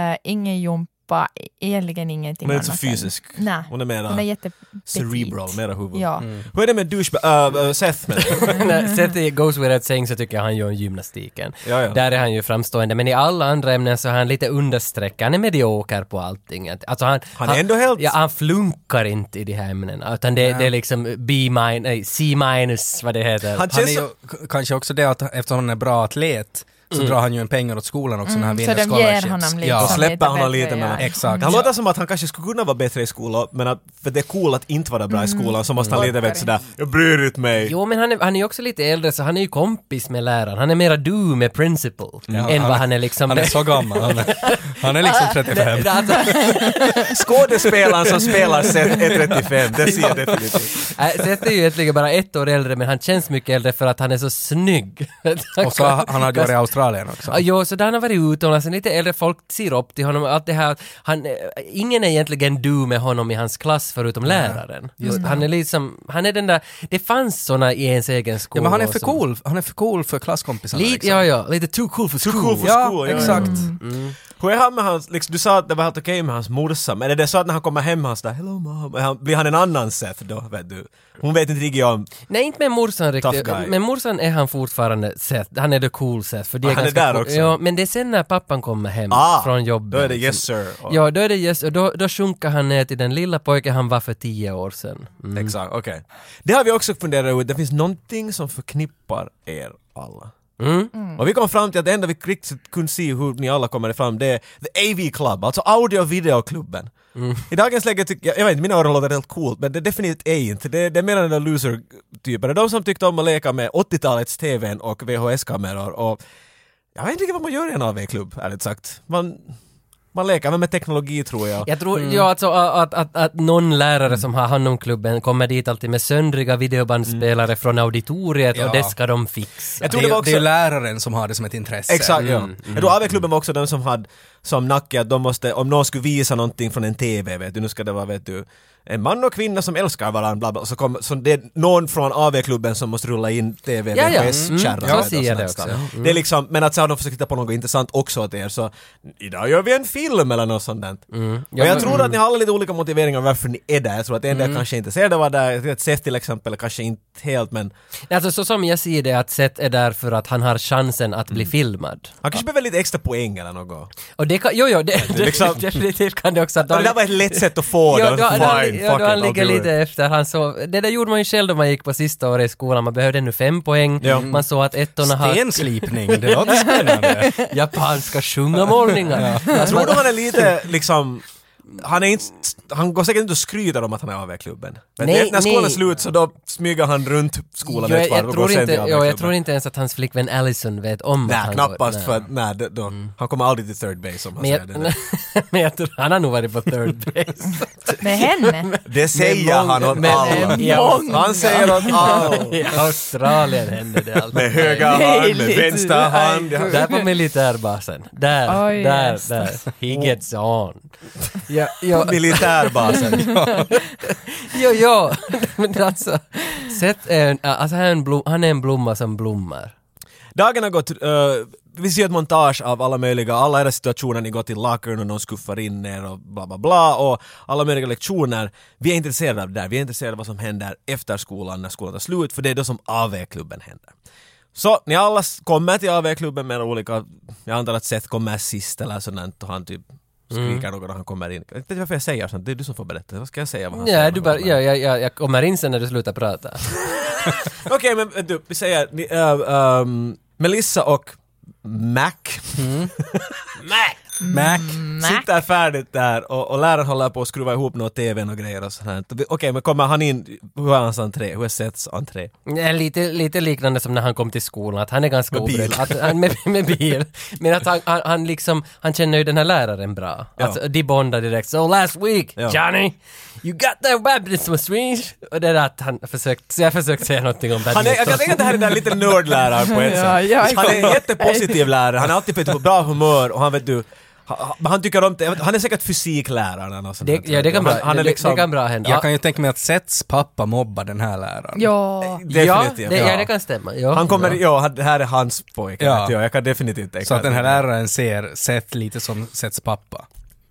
eh, ingen jump pappa egentligen ingenting
Hon är inte så
annat
fysisk.
Än. Nej.
Hon är Mm. mera
Hon är jätte...
cerebral, mera huvud.
Ja.
Hur är det med douchebag... Äh, äh, Seth men.
Mm.
När Seth goes without saying så tycker jag han gör gymnastiken.
Ja, ja.
Där är han ju framstående, men i alla andra ämnen så är han lite understreck. Han är medioker på allting. Att- Alltså han,
Han är ändå helt-
Ja, han flunkar inte i de här ämnena, utan det, det är liksom B minus, nej, C minus, vad det heter.
Han
Han är
känns
ju k- kanske också det att eftersom han är bra atlet så
Mm.
drar han ju en pengar åt skolan också när han
Mm,
vinner
så de ger
scholarships.
honom lite
ja.
så
som
släpper
lite
honom
bättre,
lite
ja.
mellan-
Exakt.
Mm.
Han låter som att han kanske skulle kunna vara bättre i skolan, men att, för det är cool att inte vara bra i skolan, så måste han lite vet sådär ”jag bryr inte mig”.
Mm. Jo, men han är, han är ju också lite äldre, så han är ju kompis med läraren. Han är mera du med principal, än vad han är liksom...
Han är så gammal. Han är, han är liksom 35.
Alltså,
Skådespelaren som spelar Seth är 35, det ser jag definitivt.
äh, Seth är ju egentligen bara ett år äldre, men han känns mycket äldre för att han är så snygg.
Och så har- han hade varit i Australien också.
Ja, jo, så där han har varit utomlands, sen lite äldre folk ser upp till honom, allt det här, han, eh, ingen är egentligen du med honom i hans klass förutom läraren. han är liksom, han är den där, det fanns såna i ens egen skola.
Ja, men han är för
som-
cool. Han är för cool för klasskompisarna.
Lite,
liksom. Mm.
ja, ja, lite too cool for
Too
school.
cool for
Ja,
school, ja, ja.
exakt.
Hur är han med hans, liksom, du sa att det var helt okej med hans morsa, men är det så att när han kommer hem han sådär ”hello mom”, är han, blir han en annan Seth då, vet du? Hon vet inte riktigt om...
Nej, inte med morsan riktigt.
Tough guy.
Med morsan är han fortfarande Seth, han är the cool Seth. För det
Ah, han är
ganska
där
cool.
också.
Ja, men det är sen när pappan kommer hem
Ah,
från jobbet.
Då är det
som-
”yes sir”. Och,
Ja, då är det yes, och då, då sjunker han ner till den lilla pojken han var för tio år sedan. Mm.
Exakt, okej. Det har vi också funderat ut, det finns någonting som förknippar er alla.
Mm.
Och vi kom fram till att det enda vi riktigt kunde se hur ni alla kommer fram det är The AV Club, alltså audio och videoklubben.
Mm.
I dagens läge tycker jag, jag vet inte, mina öron låter helt coolt men det definitivt är inte. Det, det är mer den där loser-typen. De som tyckte om att leka med 80-talets TVn och VHS-kameror och jag vet inte riktigt vad man gör i en AV-klubb, ärligt sagt. Man, man leker väl med teknologi tror jag.
Jag tror, ja alltså a- att, att, att någon lärare som har hand om klubben kommer dit alltid med söndriga videobandspelare
Mm.
från auditoriet och
Ja.
det ska de fixa.
Jag
Det,
tror
är,
det
ju-
var
det är ju
också...
läraren som har det som ett intresse. Mm.
Exakt, ja.
mm,
Jag tror AV-klubben var också den som hade som nacke att de måste, om någon skulle visa någonting från en TV, vet du, nu ska det vara, vet du, en man och kvinna som älskar varandra, bla bla, så, kom, så det är någon från AV-klubben som måste rulla in TV,
Ja, ja.
VHS-kärran.
Mm, jag ser det också. Mm.
Det är liksom, men att så har de försökt hitta på något intressant också åt er, så idag gör vi en film eller något sånt där.
Mm. Ja,
och jag
men- Mm.
tror att ni har alla lite olika motiveringar varför ni är där, jag tror att en del kanske inte ser det var där, jag tycker att Seth till exempel kanske inte helt, men
Alltså så som jag ser det att Seth är där för att han har chansen att
Mm.
bli filmad.
han kanske behöver lite extra poäng eller något.
Och det kan, jo jo, det,
är liksom-
definitivt kan det också. Att
Ja, det där var ett lätt sätt att få
Ja,
det.
då, då, han-
Fine,
ja,
fuck
då
it,
han
I'll
ligger
do
lite
it.
efter. Han så, det där gjorde man ju själv då man gick på sista året i skolan. Man behövde nu fem poäng.
Ja.
Man såg att ettorna har
Stenslipning, det låter spännande.
japanska sjungamålningar.
Jag tror du han är lite liksom... Han, är inte, han går säkert inte och skryter om att han är av i klubben. Men
Nej,
när skolan
nej.
är slut så då smyger han runt skolan
Jo,
ett
jag,
varv
jag,
och går
tror
sen
inte,
till av i
ja, jag tror
klubben.
inte ens att hans flickvän Allison vet om att
Nej,
han
knappast
går- Mm.
för att, nej, det- då, han kommer aldrig till third base om han
Men
säger
jag,
det.
men jag tror han har nog varit på third base.
Med henne?
Det säger
många-
han åt
men-
alla.
men- många.
Han säger åt alla.
I Australien hände det alltså.
Med höga hand, med vänster hand.
Där på militärbasen. Där,
Oj,
där,
yes.
där. He gets on. Ja, ja,
Militärbasen.
ja, ja. Men alltså, Seth är en, alltså han är en, blom, han är en blomma som blommar.
Dagen har gått, eh, vi ser ett montage av alla möjliga, alla era situationer, ni går till lockern och någon skuffar in er och bla bla bla och alla möjliga lektioner. Vi är intresserade av det där, vi är intresserade av vad som händer efter skolan när skolan är slut, för det är då som AV-klubben händer. Så ni alla s- kommer till AV-klubben med era olika, jag antar att Seth kommer sist eller sådant och han typ skriker
Mm.
något när han kommer in. Jag vet inte varför jag säger sånt, det är du som får berätta. Vad ska jag säga? Vad han säger
Ja,
när
du
han
bara,
kommer in?
ja, ja, ja, jag kommer in sen när du slutar prata.
Okej, men äh, du, vi säger ni, äh, ähm, Melissa och Mac. Mac!
Mac.
Sitter färdigt där och, och läraren håller på att skruva ihop något TVn och grejer och sånt här. Vi- Okej, men kommer han in, hur är hans entré? Hur är Seths entré?
Nej, lite, lite liknande som när han kom till skolan, att han är ganska
Med bil.
oberedd. Att, han- med, med bil. Men att han, han, han liksom, han känner ju den här läraren bra.
Ja.
Alltså, de bondar direkt. So last week,
Ja.
Johnny, you got that badminton swing. Och det är att han försökt, så jag försökt säga någonting om
Han är, jag
badminton.
kan tänka att det här är den där lite nördläraren på ett
Ja, ja,
sätt. Han är en jättepositiv lärare, han är alltid på ett bra humör och han vet du, han, han tycker om det, jag vet- han är säkert fysikläraren eller något sånt
Det,
där.
ja, det kan, bra,
han, han är
det,
liksom,
det kan bra hända.
Jag kan ju tänka mig att Seths pappa mobbar den här läraren.
Ja.
ja,
definitivt.
det, ja,
ja.
det kan stämma. Ja.
Han kommer, ja, det här är hans pojke.
Ja.
Ja. Jag kan definitivt tänka
Så att den här
mig.
läraren ser Seth lite som Seths pappa.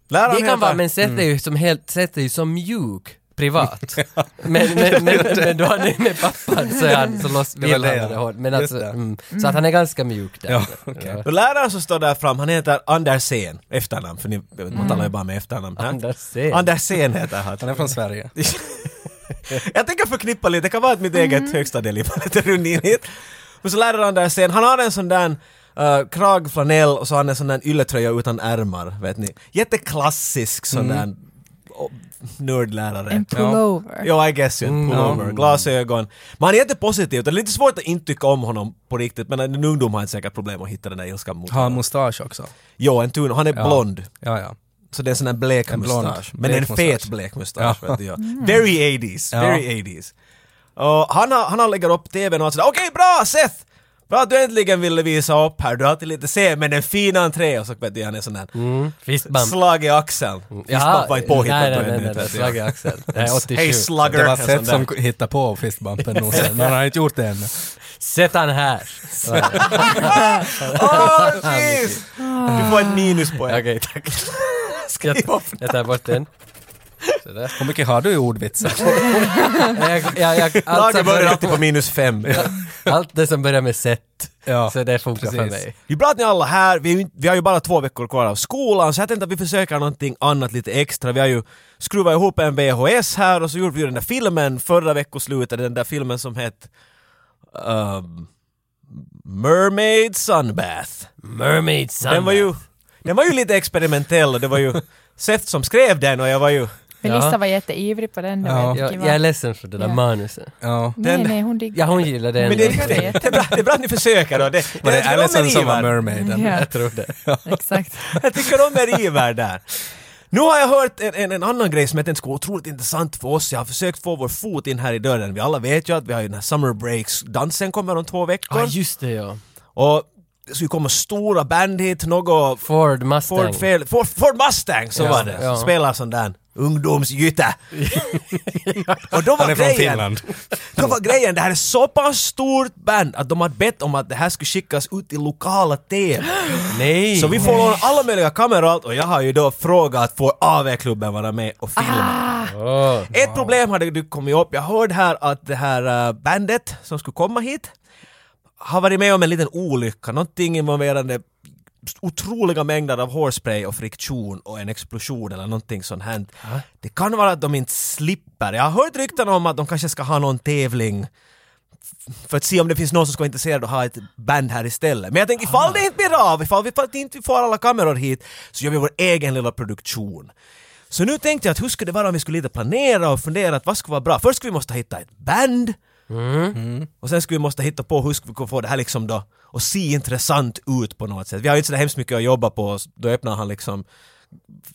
Lär
Det kan vara,
men...
men Seth är ju som helt, Seth är ju som mjuk privat. men, men, men, men då han är med pappan så är han, så loss,
Det var
vill han
det,
ha det
ja.
hårt. Men
Just
alltså,
det.
mm, så att han är ganska mjuk där.
Ja, okej.
Ja.
Och läraren som står där fram, han heter Andersén, efternamn, för ni jag vet, man talar ju bara med efternamn. här.
Andersén.
Andersén heter han.
Han är från Sverige.
Jag tänker förknippa lite, det kan vara att mitt eget högstadieliv var lite ruinigt. Men så lärde han där sen, han har en sån där uh, kragflanell och så har han en sån där ylletröja utan ärmar, vet ni. Jätteklassisk sån där oh, nördlärare.
En pullover.
Ja, I guess you,
Mm.
en pullover, glasögon. Men han är jättepositiv, det är lite svårt att inte tycka om honom på riktigt, men en ungdom har inte säkert problem att hitta den där ilskan mot
Har han
honom.
mustasch också?
Jo, en tun, han är blond.
Ja, ja.
Så det är en sån där blek
En blond,
mustasch.
blek
Men en fet
mustasch.
blek mustasch.
Ja.
Vet du, ja. Very 80s,
Ja.
very 80s. Och han, har, han har lägger upp TVn och han säger okej bra Seth! Bra att du äntligen ville visa upp här, du har alltid lite sen men en fin entré och så vet du han är sån där
Mm.
Fistbump.
slag i axeln. Fistbump var inte påhittat
nej,
då
nej, nej, nej,
ännu.
nej,
vet du.
slag i axeln. Nej, 87.
Hej slugger!
Det var
en sån
Seth
där.
som hittade på fistbumpen nog sen, men han har inte gjort det ännu.
Sätt han här. Så-
Åh jeez! Du får en minuspoäng.
Okej, tack. Jag, jag tar bort den. Sådär.
Hur mycket har du i ordvitsar?
Jag, jag, jag, allt,
Laget
som
börjar
Alltså,
börjar,
alltid på minus fem.
allt det som börjar med sätt,
Ja,
så det funkar för
precis.
mig.
Det är bra att ni alla är här, vi, är ju inte, vi har ju bara två veckor kvar av skolan så jag tänkte att vi försöker någonting annat lite extra. Vi har ju skruvat ihop en VHS här och så gjorde vi ju den där filmen förra veckoslutet, den där filmen som hette ehm, Mermaid Sunbath.
Mermaid Sun.
Den var ju, den var ju lite experimentell och det var ju Seth som skrev den och jag var ju...
Ja.
Melissa var jätteivrig på den. det var
Ja.
jag,
jättekul.
jag är ledsen för det där
Ja.
manuset.
Ja.
Nej,
Den-
nej, hon diggar
Ja, hon gillar den.
Men det, det, det, är bra, det är bra att ni försöker och det...
Var det
jag tycker om
Alison
er
som var
iver.
mermaiden?
Ja.
Jag tror det.
Exakt.
Jag tycker om er iver där. Nu har jag hört en, en, en annan grej som jag tänkte skulle vara otroligt intressant för oss. Jag har försökt få vår fot in här i dörren. Vi alla vet ju att vi har ju den här Summer Breaks. Dansen kommer om två veckor.
Ah,
Ja, just det ja.
och det ska ju komma stora band hit, något...
Ford Mustang.
Ford, fel, Ford, Ford Mustang, så
Ja,
var det.
ja.
Som spelar sån där ungdomsgytte. och då
Han
var
är från
grejen...
Finland.
Då var grejen, det här är så pass stort band att de hade bett om att det här skulle skickas ut i lokala TV.
Nej!
Så vi får låna alla möjliga kameror och allt och jag har ju då frågat får AV-klubben vara med och filma?
Åh.
Ett problem hade du kommit upp, jag hörde här att det här eh, bandet som skulle komma hit har varit med om en liten olycka, någonting involverande otroliga mängder av hårspray och friktion och en explosion eller någonting sånt hänt. Det kan vara att de inte slipper. Jag har hört rykten om att de kanske ska ha någon tävling f- för att se om det finns någon som ska vara intresserad och ha ett band här istället. Men jag tänker ifall det inte blir av, ifall vi ifall vi inte får alla kameror hit så gör vi vår egen lilla produktion. Så nu tänkte jag att hur skulle det vara om vi skulle lite planera och fundera att vad skulle vara bra? Först skulle vi måste hitta ett band och sen skulle vi måste hitta på hur skulle vi kunna få det här liksom då och se intressant ut på något sätt. Vi har ju inte så där hemskt mycket att jobba på, så då öppnar han liksom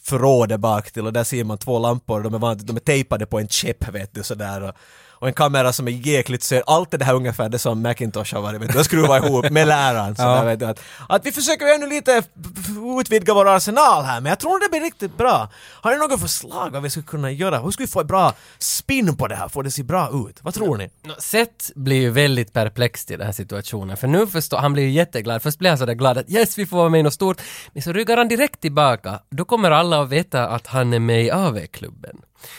förrådet bak till och där ser man två lampor, de är, van, de är tejpade på en chip vet du sådär och, och en kamera som är jäkligt söt. Allt det här ungefär det som Macintosh har varit vet du, och skruva ihop med läraren. Sådär, vet du, att, att vi försöker ju ännu lite f- f- utvidga vår arsenal här men jag tror det blir riktigt bra. Har ni något förslag vad vi skulle kunna göra? Hur skulle vi få ett bra spin på det här? Få det se bra ut? Vad tror ni?
Nå, Seth blir ju väldigt perplex i den här situationen, för nu förstår han blir ju jätteglad. Först blir han sådär glad att yes, vi får vara med i något stort, men så ryggar han direkt tillbaka. Då kommer alla att veta att han är med i AV-klubben.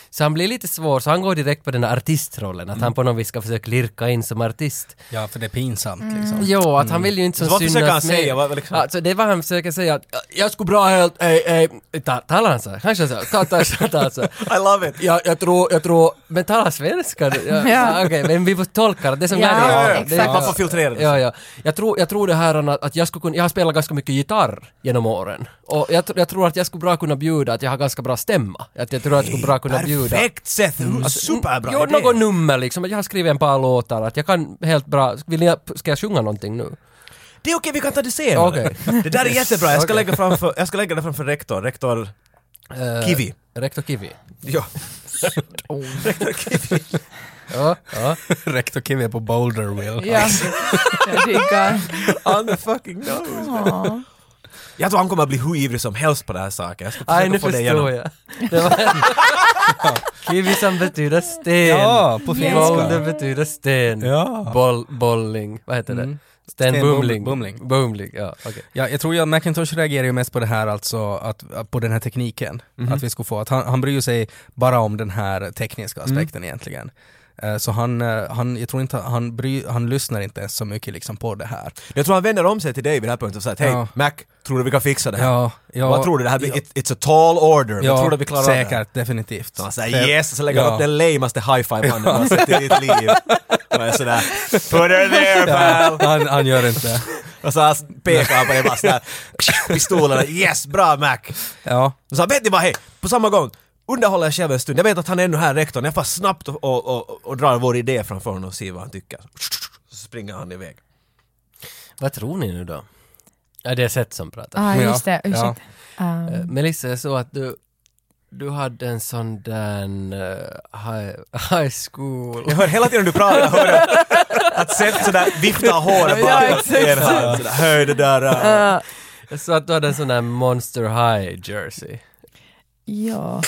Så han blir lite svår, så han går direkt på den där artistrollen, att han på något vis ska försöka lirka in som artist.
Ja, för det är pinsamt liksom.
Jo, att han vill ju inte
Så
så
vad försöker
synas
han säga? Vad- liksom-
Alltså det var han försöker säga, att, jag skulle bra helt, ej, ej, Ta- talar han så? här? Kanske så? här? Ta- ta- ta- ta- så här.
I love it!
Ja, jag tror, jag tror, men tala svenska nu. Ja, Ah,
Ja.
Okej, men vi måste tolka det, det som
Ja,
glädjer
ja,
mig.
exakt.
Det-
Man får filtrera det.
Ja, ja. Jag tror, jag tror det här Anna, att jag skulle kunna, jag har spelat ganska mycket gitarr genom åren. Och jag, tr- jag tror att jag skulle bra kunna bjuda, att jag har ganska bra stämma. Att jag tror att jag skulle bra kunna bjuda. Mm.
Perfekt Seth! Superbra
Jo,
idé.
något nummer liksom, att jag har skrivit en par låtar, att jag kan helt bra, vill ni, ska jag sjunga någonting nu?
Det är okej, vi kan ta det senare.
Okej.
Det där är jättebra, jag ska,
Okej.
lägga, framför, jag ska lägga det framför rektor. Rektor
Eh,
Kivi.
Rektor Kivi.
Ja.
Ja, ja.
Rektor Kivi på Boulderville.
Ja. Jag diggar.
On the fucking nose.
Åh.
Jag tror han kommer att bli hur ivrig som helst på den här saken. Jag ska
Aj, nu
försöka få det igenom.
förstår jag. Det var... Kivi som betyder sten.
Ja, på
Yes.
Boulder
finska.
betyder sten.
Ja. Mm.
Boll, bolling, vad heter det? Sten
Sten
Bumling.
Bumling.
Bumling, ja. okej.
Ja, jag tror ju att McIntosh reagerar ju mest på det här alltså, att, att- på den här tekniken.
Mhm.
Att vi skulle få, att han, han bryr sig bara om den här tekniska
Mm.
aspekten egentligen. Eh, Så han, eh, han, jag tror inte, han, bry, han lyssnar inte ens så mycket liksom på det här.
Jag tror han vänder om sig till dig vid det här punkten och säger att hej
Ja.
Mac, tror du vi kan fixa det här?
Ja, ja,
Vad tror du? Det här blir,
ja.
it, it's a tall order,
Ja,
vad tror du vi klarar av det? här?
Säkert, definitivt.
Så han
Det-
säger yes, och så lägger han
ja.
upp den lamaste high-five-mannen du har sett i ditt liv. Och jag är sådär, put her there
Ja,
pal!
han, han gör inte det.
Och så han pekar han på det bara sådär, pistolerna, yes, bra Mac!
Ja,
Och så han, vet ni vad, hej, på samma gång, underhåller jag själv en stund, jag vet att han är ännu här rektorn, jag får snabbt och, och, och, och drar vår idé framför honom och ser vad han tycker. Så springer han iväg.
Vad tror ni nu då? Ja, det är Seth som pratar.
Ah, just det,
Ja.
ursäkta. Ehm,
Eh, Melissa, jag såg att du, du hade en sån där eh, high, high school...
Jag hör hela tiden du pratar, jag hör att Seth sådär viftar håret
Ja,
bara åt
exakt.
er hand, sådär, hör det där. äh."
Jag såg att du hade en sån där Monster High jersey.
Ja.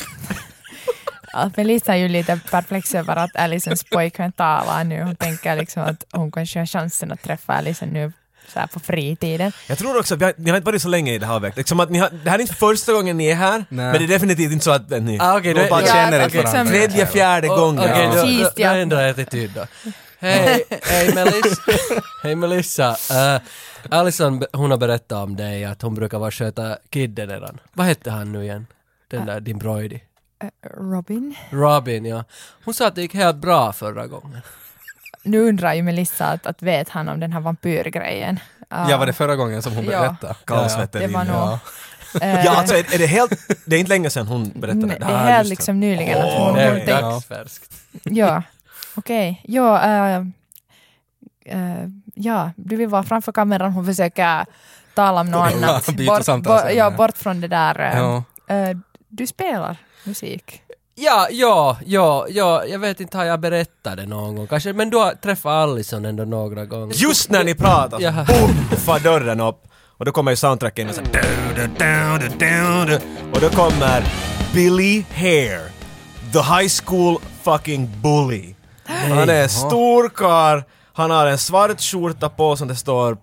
Att Melissa är ju lite perplex över att Alisons pojkvän talar nu. Hon tänker liksom att hon kanske har chansen att träffa Alison nu så här på fritiden.
Jag tror också, att vi har, ni har inte varit så länge i det här verket. Liksom att ni har, det här är inte första gången ni är här,
Nej.
men det är definitivt inte så att äh, ni...
Ah, okej,
det var
då-
bara
ja,
känner inte
okej.
varandra.
tredje, fjärde
Å-
gången.
Okej,
ja.
då, då,
Precis,
då
ja.
ändrar jag attityd då. Hej, hej Melissa. hej Melissa. Eh, Alison, be- hon har berättat om dig att hon brukar vara sköta kidden eran. Vad hette han nu igen? Den där din broidi.
Robin?
Robin, ja. Hon sa att det gick helt bra förra gången.
Nu undrar ju Melissa att, att vet han om den här vampyrgrejen? Ah,
ja var det förra gången som hon
Ja.
berättade?
Kallsvetten
det var
in.
nog...
Ja.
eh,
Ja, alltså är, är det helt... Det är inte länge sedan hon berättade
nej,
det
det är
här.
helt
just
liksom nyligen. att
Åh,
hon,
det
hon
är
tänkte,
dagsfärskt.
ja, okej. Ja, eh, eh, ja, du vill vara framför kameran, hon försöker tala om något
Ja,
annat.
byta samtal sen,
ja,
ja.
bort från det där eh,
Ja.
Eh, du spelar musik.
Ja, ja, ja, ja, jag vet inte, har jag berättat det någon gång kanske? Men du har träffat Alison ändå några gånger.
Just när ni pratar
Jaha.
så boom, far dörren upp. Och då kommer ju soundtracken och så du, du, du, du, du. Och då kommer Billy Hare. The high school fucking bully. Han är en stor karl. Han har en svart skjorta på som det står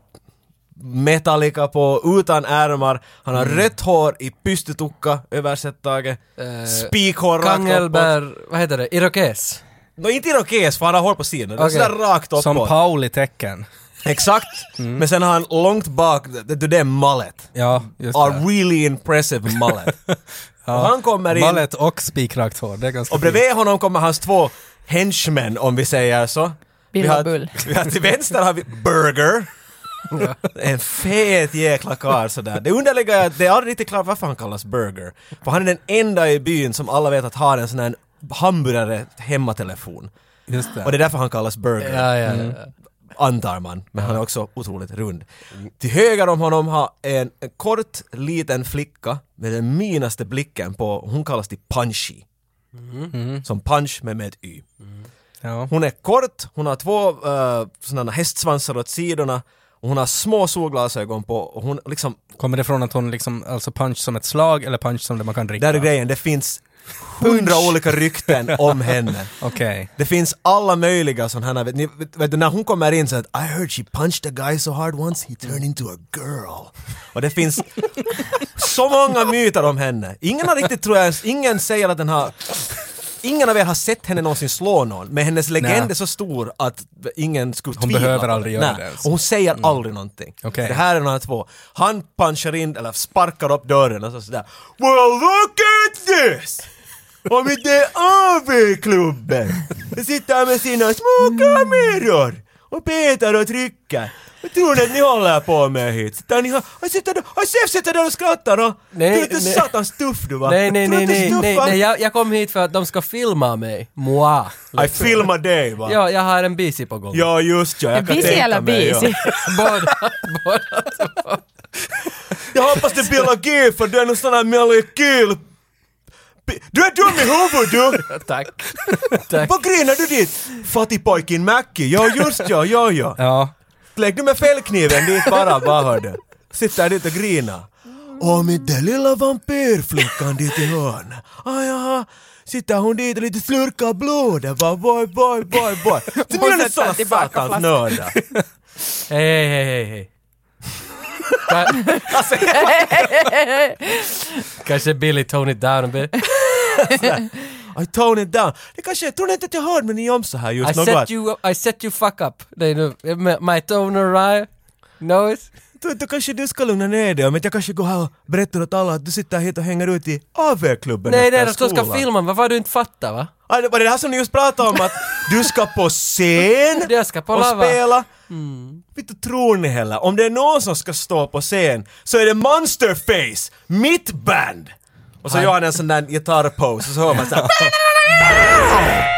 Metallica på, utan ärmar. Han
Mm.
har rött hår i pystytukka, översett taget.
Eh,
Spikhår rakt uppåt.
Kangelbär, vad heter det, irokes?
Nå, inte irokes, för han har hår på sidan. Det är
Okej.
sådär rakt uppåt.
Som Pauli-tecken.
Exakt. Men sen har han långt bak, det, det är mallet.
Ja, Mm. just
A
det.
really impressive mallet. Och Han kommer in
Mallet och spikrakt hår, det är ganska
och
fint.
bredvid honom kommer hans två henchmen om vi säger så.
Bill
vi
och
har,
Bull.
vi har till vänster har vi Burger. en fet jäkla karl sådär. Det underliga är att det är aldrig riktigt klart varför han kallas Burger. För han är den enda i byn som alla vet att har en sån här hamburgare hemmatelefon.
Just det.
Och det är därför han kallas Burger.
Ja, ja, ja.
antar man, men han är också otroligt rund. Till höger om honom har en, en kort liten flicka med den minaste blicken på, hon kallas till Punchy. Som punch men med ett y.
Ja.
Hon är kort, hon har två uh, sådana hästsvansar åt sidorna och hon har små solglasögon på och hon liksom,
Kommer det från att hon liksom, alltså punch som ett slag eller punch som det man kan dricka?
där är grejen, det finns hundra olika rykten om henne.
Okej.
Det finns alla möjliga sådana här, vet ni, vet, vet, du, när hon kommer in så att I heard she punched a guy so hard once he turned into a girl. Och det finns så många myter om henne. Ingen har riktigt tror jag, ens- ingen säger att den har Ingen av er har sett henne någonsin slå någon, men hennes legend
Nej.
är så stor att ingen skulle
Hon
tvivla
behöver
på det.
aldrig göra
Nej.
det ens. Mm.
Och hon säger aldrig någonting.
Okej.
Det här är de här två. Han punchar in, eller sparkar upp dörren och så sådär Well look at this! Om inte det är AV-klubben! De sitter här med sina små kameror och petar och trycker. Vad tror ni att ni håller på med hit? Sitter ni här och sitter där, och Sef sitter där och skrattar och...
Nej,
tror du inte
nej.
satans tuff du va?
Nej, nej,
Tror du
nej,
inte
nej,
tuff,
nej,
va?
nej jag, jag kom hit för att de ska filma mig. Moi.
I filmar dig va?
Ja, jag har en bisi på gång.
Ja, just ja. Jag kan
Busy
tänka
eller
mig, ja.
busy?
Båda, båda.
Jag hoppas det blir G för du är någon sån här melekil... Du är dum i huvudet du!
Tack. Tack.
Vad grinar du dit? Fattigpojken Mackie, ja just ja, ja ja.
Ja.
Lägg nu med fällkniven dit bara, bara hörde. Sitter dit och grina. Och med den lilla vampyrflickan dit i hörn. Ah, jaha. Sitter hon dit och lite slurkar blodet. Va, boy, boy, boy, boy. Så blir
Måste
ni såna
ta tillbaka
satans
flaskan.
nördar.
Hej, hej, hej, hej, hej. Ka- Kanske Billy tone it down a bit.
I tone it down. Det kanske, tror ni inte att jag hörde med ni om så här just
I
något?
set you, I set you fuck up. Det är nu, my- my toner I know it.
Du, du kanske du ska lugna ner dig om att jag kanske går här och berättar åt alla att du sitter här hit och hänger ut i AV-klubben
Nej, det
efter
är att de ska
skolan.
filma, vad var du inte fattar va?
Ah, det var det här som ni just pratade om att du ska på scen
Jag ska på
och
lava. Mm.
spela. Vet du, tror ni heller? Om det är någon som ska stå på scen så är det Monsterface, mitt band! Och så gör han en sån där gitarrpose och så hör man såhär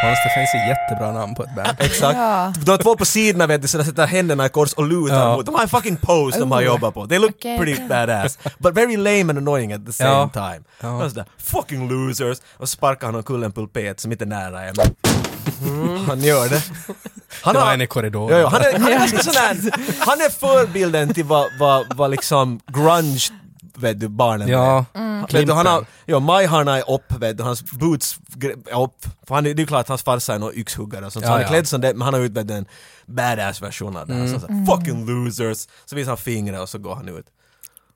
Monsterface är jättebra namn på ett band.
Exakt.
Ja.
De två på sidorna vet du, så de sätter händerna i kors och lutar
Ja.
mot. De har en fucking pose de har jobbat på. They look
Oh. Okej.
pretty badass. But very lame and annoying at the same
Ja.
time.
Ja.
De sådär, fucking losers! Och sparkar han omkull en pulpet som inte är nära en. Han gör det. Han
Mm. Det var
har-
en i korridoren.
Ja, ja, han är, han är ganska sån här- han är förbilden till vad, vad, vad liksom grunge vet du, barnen
Ja,
Vet du, han har,
Klimpen.
ja, Majharna är upp, vet du, hans boots gre- är upp. För han, är- det är ju klart att hans farsa är någon yxhuggare och sånt, så
Ja,
han är
ja.
klädd som det, men han har utvecklat en badass version av det. här. Så, så,
Mm.
här, fucking losers! Så visar han fingret och så går han ut.